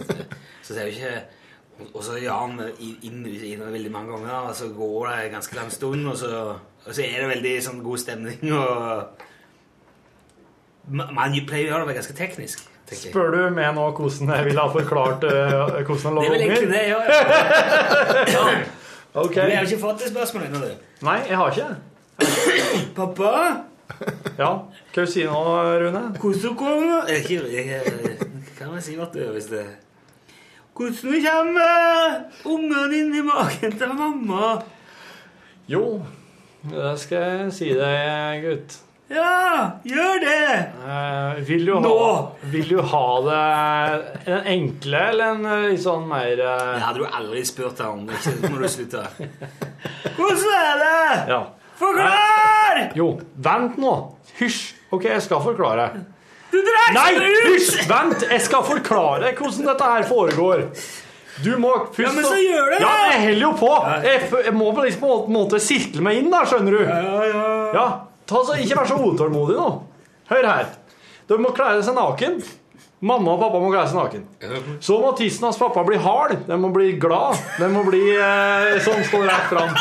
Speaker 2: så er det jo ikke Og så gjør han det i- inn i det veldig mange ganger, og så går det en ganske lang stund, og så, og så er det veldig sånn god stemning, og Ma- Man pleier å gjøre det ganske teknisk, tenker jeg.
Speaker 1: Spør du meg nå hvordan jeg ville ha forklart eh, hvordan jeg
Speaker 2: Det er vel
Speaker 1: lager
Speaker 2: egentlig
Speaker 1: unger?
Speaker 2: det, ja. ja. ja.
Speaker 1: Ok.
Speaker 2: Du har jo ikke fått det spørsmålet ennå, du.
Speaker 1: Nei, jeg har ikke.
Speaker 2: Pappa?
Speaker 1: Ja, hva sier du nå, Rune?
Speaker 2: Hvordan kommer Eh, Ikke jeg, jeg, Hva kan jeg si at det er hvis det Hvordan kommer ungene inn i magen til mamma?
Speaker 1: Jo, det skal jeg si deg, gutt.
Speaker 2: Ja, gjør det!
Speaker 1: Eh, vil, du ha, vil du ha det en enkle eller en eh, litt sånn mer
Speaker 2: Jeg
Speaker 1: eh,
Speaker 2: hadde jo aldri spurt deg om det. Ikke nå må du slutte. Hvordan er det?
Speaker 1: Ja.
Speaker 2: Forklar!
Speaker 1: Jo, vent nå. Hysj. Ok, jeg skal forklare.
Speaker 2: Du drar
Speaker 1: Nei,
Speaker 2: ikke ut!
Speaker 1: hysj! Vent, jeg skal forklare hvordan dette her foregår. Du må først
Speaker 2: Ja, men så gjør det, da!
Speaker 1: Ja, jeg holder jo på. Jeg, f- jeg må på liksom på en måte sirkle meg inn, da, skjønner du. Ja, ja, ja. ta så, Ikke vær så utålmodig nå. Hør her. De må klære seg naken. Mamma og pappa må klære seg naken. Så må tissen hans pappa bli hard. Den må bli glad. Den må bli eh, sånn står rett fram.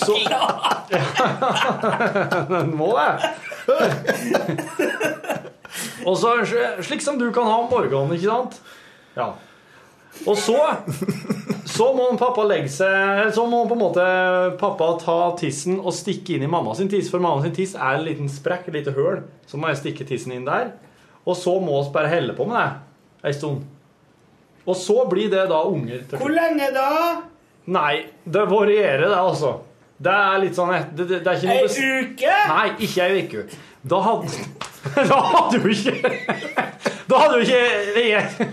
Speaker 1: Så, den må det. [LAUGHS] Og så sl- slik som du kan ha om morgenen, ikke sant? Ja. Og så Så må han pappa legge seg Så må på en måte pappa ta tissen og stikke inn i mamma sin tiss, for mamma sin tiss er en liten sprekk, et lite høl. Så må jeg stikke tissen inn der. Og så må vi bare helle på med det ei stund. Og så blir det da unger. til
Speaker 2: Hvor lenge da?
Speaker 1: Nei, det varierer, det, altså. Det er litt sånn Det, det, det er ikke noe
Speaker 2: Ei uke?
Speaker 1: Nei, ikke ei uke. Da hadde [LAUGHS] Da hadde jo ikke [LAUGHS] Da hadde jo ikke jeg,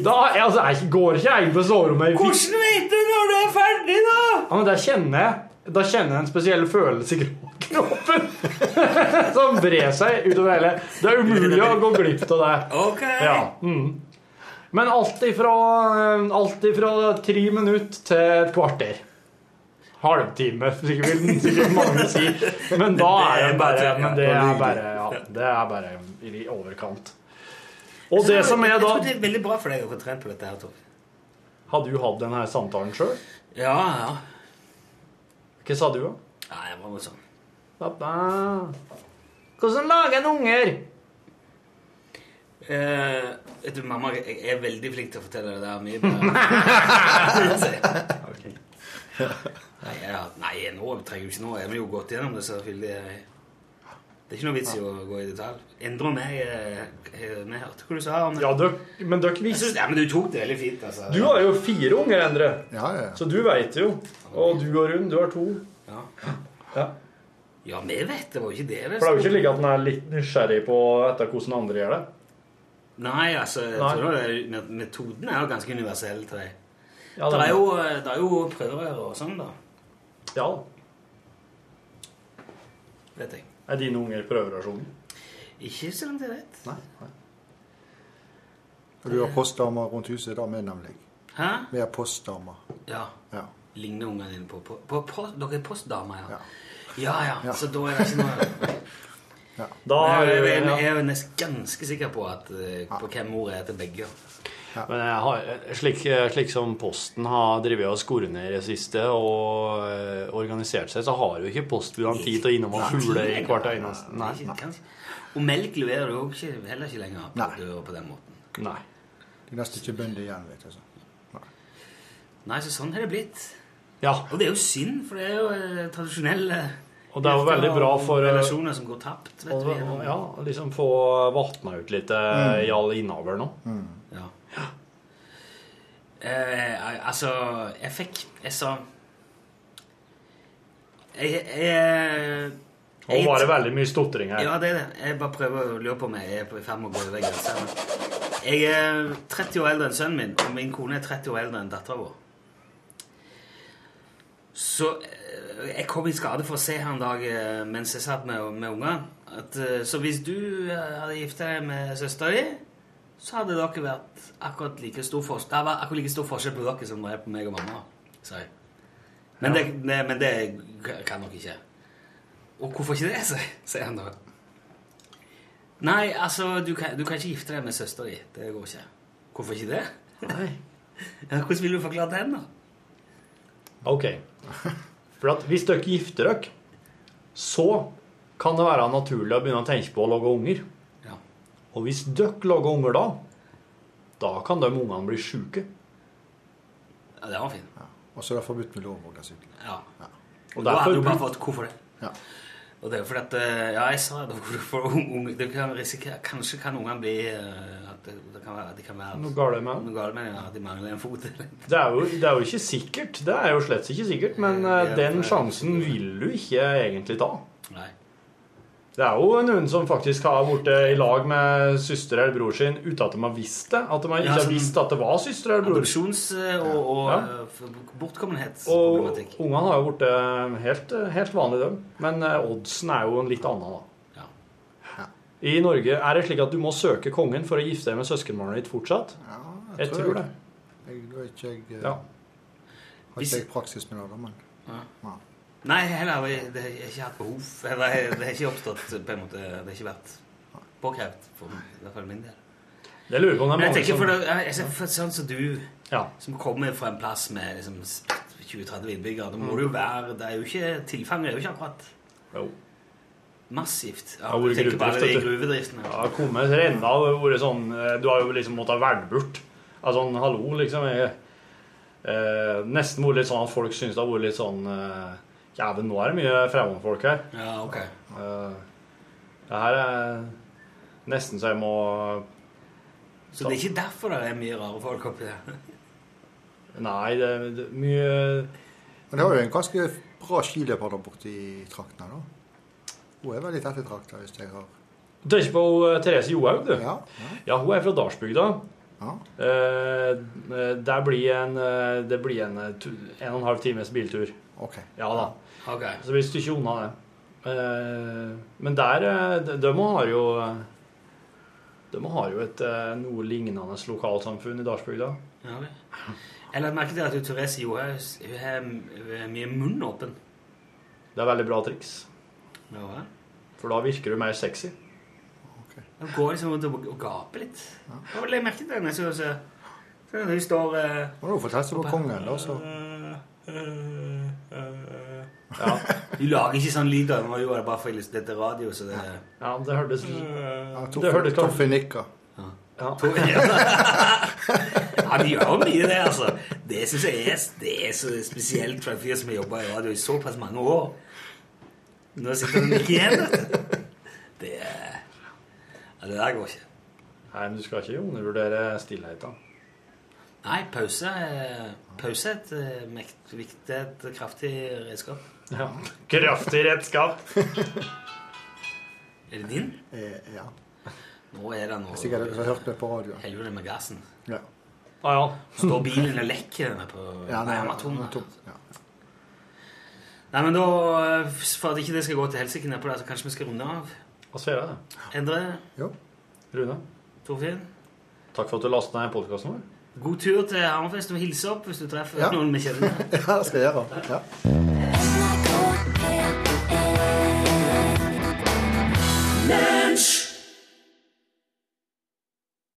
Speaker 1: Da altså, jeg går ikke jeg inn på soverommet. i-
Speaker 2: Hvordan vet du når du er ferdig, da?
Speaker 1: Ja, men der kjenner jeg Da kjenner jeg en spesiell følelse i kroppen [LAUGHS] som brer seg utover hele Det er umulig å gå glipp av det. Ja. Mm. Men alt ifra, eh, alt ifra tre minutter til et kvarter. Halvtime, sikkert vil sikkert mange si. Men da er det bare Men det er bare, ja, det er bare i overkant. Og det som er
Speaker 2: Jeg
Speaker 1: da
Speaker 2: tror det er veldig bra for deg å få trent på dette her, Tor.
Speaker 1: Har du hatt denne samtalen sjøl?
Speaker 2: Ja, ja.
Speaker 1: Hva sa du, da?
Speaker 2: Nei, jeg var noe sånn.
Speaker 1: Pappa Hvordan lager en unger?
Speaker 2: Eh, vet du, mamma, jeg er veldig flink til å fortelle det der mye bedre. okay. Nei, jeg, nei, nå trenger jeg jo ikke nå. Jeg blir jo gått gjennom det, så selvfølgelig. jeg- Det er ikke noe vits i å gå i detalj. Endre og meg eh, Vi hørte hva du sa om det.
Speaker 1: Ja, men dere
Speaker 2: visste Ja, men du tok det veldig fint, altså.
Speaker 1: Du har jo fire unger, Endre. Så du veit jo. Og du og Rund, du har to.
Speaker 2: Ja.
Speaker 1: Ja.
Speaker 2: Ja, vi vet det var jo ikke det.
Speaker 1: For det er jo ikke like at en er litt nysgjerrig på etter hvordan andre gjør det.
Speaker 2: Nei, altså, jeg
Speaker 1: Nei.
Speaker 2: tror det er- met- metoden er jo ganske universell til deg.
Speaker 1: Ja,
Speaker 2: det,
Speaker 1: det er
Speaker 2: er jo, eh, det er jo prøverøre og sånn, da.
Speaker 1: Ja.
Speaker 2: Vet jeg.
Speaker 1: Er dine unger prøverasjonen?
Speaker 2: Ikke så langt jeg vet.
Speaker 1: Nei.
Speaker 8: Og du har postdamer rundt huset, da med nemlig.
Speaker 2: Hæ?
Speaker 8: Vi har postdamer.
Speaker 2: Ja.
Speaker 8: Ja.
Speaker 2: Ligner ungene dine på, på, på, på Dere er postdamer, ja. ja? Ja ja, så da er det ikke [LAUGHS] noe
Speaker 1: Da
Speaker 2: Men
Speaker 1: er
Speaker 2: jeg,
Speaker 1: det-
Speaker 2: jeg, jeg,
Speaker 1: ja.
Speaker 2: er jo nesten ganske sikker på, at, eh, på hvem mor er til begge.
Speaker 1: Men jeg har, slik, slik som Posten har drevet og skoret ned i det siste og eh, organisert seg, så har jo ikke postbudene tid til å innom og
Speaker 2: Nei,
Speaker 1: fugle i
Speaker 2: tid,
Speaker 1: hvert
Speaker 2: ja.
Speaker 1: eneste
Speaker 2: Nei, ikke- kanskje. Og melk leverer du jo ikke, heller ikke lenger på døra på den måten.
Speaker 1: Nei.
Speaker 8: De er nesten ikke bønder igjen, vet du. altså. Så.
Speaker 2: Nei, så sånn har det blitt.
Speaker 1: Ja.
Speaker 2: Og det er jo synd, for det er jo eh, tradisjonelle
Speaker 1: Og det er jo veldig bra for eh,
Speaker 2: Relasjoner som går tapt, vet
Speaker 1: og,
Speaker 2: vi.
Speaker 1: og, ja, liksom få vatna ut litt eh,
Speaker 2: Mm.
Speaker 1: i all innavl nå.
Speaker 2: Ja. Eh, altså, jeg fikk Jeg sa Jeg, jeg, eh,
Speaker 1: Nå var det veldig mye stotring her.
Speaker 2: Ja, det er det. Jeg bare prøver å lure på om jeg er på- i ferd med å gå over grensa. men Jeg er 30 år eldre enn sønnen min, og min kone er 30 år eldre enn dattera vår. Så eh, jeg kom i skade for å se her en dag eh, mens jeg satt med, med ungene. at, eh, Så hvis du eh, hadde gifta deg med søstera di, så hadde dere vært akkurat like stor forskjell Det hadde vært akkurat like stor forskjell på dere som det er på meg og mamma. sa jeg.
Speaker 1: Ja.
Speaker 2: Men, det, det, men det kan dere ikke. Og hvorfor ikke det, sier- sier han da. Nei, altså, du kan, du kan ikke gifte deg med søstera di. Det går ikke. Hvorfor ikke det? Ja, Hvordan vil du forklare den, da?
Speaker 1: Ok. For at hvis dere gifter dere, så kan det være naturlig å begynne å tenke på å lage unger. Og hvis dere lager unger da, da kan de ungene bli syke.
Speaker 2: Ja, det var fint.
Speaker 8: Og så er det forbudt med lov òg, dessuten.
Speaker 2: Ja.
Speaker 1: Og
Speaker 2: Og da
Speaker 1: derfor-
Speaker 2: hadde du bare fått hvorfor det.
Speaker 8: Ja.
Speaker 2: Og det er jo fordi at eh, Ja, jeg sa det. [LAUGHS] Hvorfor unge det kan risikere, Kanskje kan ungene bli eh, At det, det kan være, de kan være
Speaker 1: Noe galt med
Speaker 2: Noe galt med ja, At de mangler en fot. eller-
Speaker 1: Det er, jo, det er jo ikke sikkert. Det er jo slett ikke sikkert, men eh, den sjansen vil du ikke egentlig ta.
Speaker 2: Nei.
Speaker 1: Det er jo noen som faktisk har vært i lag med søster eller bror sin uten at de har visst det. At de har-
Speaker 2: Ja,
Speaker 1: ikke har
Speaker 2: sånn
Speaker 1: visst at det var søster eller bror.
Speaker 2: Adopsjons- og, og
Speaker 1: Ja.
Speaker 2: eh, f-
Speaker 1: Og
Speaker 2: bortkommenhetsproblematikk.
Speaker 1: ungene har jo blitt eh, helt, helt vanlige, dem. Men eh, oddsen er jo en litt annen, da. I Norge er det slik at du må søke kongen for å gifte deg med søskenbarnet ditt fortsatt. jeg,
Speaker 8: tror
Speaker 1: tror
Speaker 8: jeg.
Speaker 1: det.
Speaker 8: Jeg, nå er ikke jeg, eh,
Speaker 1: Ja.
Speaker 8: Har ikke jeg praksis med det, da, men ja.
Speaker 2: Nei, heller aldri. Det har jeg ikke hatt behov Eller det har ikke oppstått på en måte Det har ikke vært påkrevd, for i hvert fall min del.
Speaker 1: Jeg lurer på om det er
Speaker 2: Men jeg
Speaker 1: mange
Speaker 2: tenker
Speaker 1: som-
Speaker 2: for, det, jeg, jeg, for Sånn som du,
Speaker 1: Ja.
Speaker 2: som kommer fra en plass med liksom, 20-30 innbyggere, da må det jo være Det er jo ikke Tilfanget er jo ikke akkurat massivt. Ja,
Speaker 1: har vært
Speaker 2: jeg tenker bare
Speaker 1: gruvedrift,
Speaker 2: i
Speaker 1: vet du.
Speaker 2: gruvedriften.
Speaker 1: Ja, kommet renna og vært sånn eh, Du har jo liksom måttet være velburt. Altså, sånn, hallo, liksom. Jeg, eh, nesten vært litt sånn at folk syns det har vært litt sånn eh, Jæven, nå er det mye fremmedfolk her.
Speaker 2: Ja, ok.
Speaker 1: Eh, det her er nesten så jeg må
Speaker 2: Så det er ikke derfor det er mye rare folk oppi der?
Speaker 1: Nei, det er det er mye
Speaker 8: Men det var jo en ganske bra skiløper der borte i trakten her, da. Hun er veldig ettertrakta, hvis jeg har
Speaker 1: Du tenker på eh, Therese Johaug, du? Ja, [LAUGHS] hun er fra Dalsbygda. Eh, eh, der blir en, eh, det blir en eh, tu- en og en halv times biltur.
Speaker 8: Ok.
Speaker 1: Ja da.
Speaker 2: Ok.
Speaker 1: Så blir det stykke unna det. Eh, men der eh, de, de har jo eh, De har jo et eh, noe lignende lokalsamfunn i Dalsbygda.
Speaker 2: Ja, ok. Eller merket dere at jo Therese Johaug hun har m- mye munn åpen?
Speaker 1: Det er veldig bra triks.
Speaker 2: Ja, hva?
Speaker 1: For da virker du mer sexy.
Speaker 2: Hun går liksom rundt og og gaper litt. Det var det jeg merket da jeg så- så- så Hun står eh,
Speaker 8: Hun har jo fått helse på
Speaker 2: oppe.
Speaker 8: kongen, da, så
Speaker 1: Ja.
Speaker 2: Du lager ikke sånn lyd av meg, det bare for illus- dette er radio, så det
Speaker 1: Ja, det hørtes
Speaker 2: Mm.
Speaker 8: Ja,
Speaker 1: Eh, Det
Speaker 8: Toffe
Speaker 1: hørtes klart-
Speaker 8: Toffe nikker.
Speaker 1: Ja.
Speaker 2: Ja, de gjør mye det, altså. Det syns jeg er, det er så spesielt for en fyr som har jobba i radio i såpass mange år. Nå sitter han ikke igjen. vet du. Det er ja, Det der går ikke.
Speaker 1: Nei, men du skal ikke undervurdere stillheten.
Speaker 2: Nei, pause er- Pause er et eh, mekt, viktig, et kraftig redskap.
Speaker 1: Ja. Kraftig redskap.
Speaker 2: Er det din?
Speaker 8: Eh, ja.
Speaker 2: Nå er det
Speaker 8: Det
Speaker 2: noe
Speaker 8: er Sikkert dere som har hørt det på radioen.
Speaker 2: Helvete med gassen.
Speaker 8: Ja.
Speaker 1: Ah, ja.
Speaker 2: Står bilen og lekker denne på
Speaker 8: Ja, nei,
Speaker 2: Amatonen?
Speaker 8: den er tom,
Speaker 2: Nei, men da, eh, For at ikke det skal gå til helsike nedpå der, så kanskje vi skal runde av.
Speaker 1: Hva skal jeg det?
Speaker 2: Endre,
Speaker 8: [LAUGHS]
Speaker 1: Rune,
Speaker 2: Torfinn,
Speaker 1: takk for at du lastet ned podkasten vår.
Speaker 2: god tur til Hammerfest og hilse opp hvis du treffer
Speaker 1: Ja.
Speaker 2: noen vi kjenner.
Speaker 8: Ja, det skal jeg gjøre. Ja.
Speaker 12: Yeah.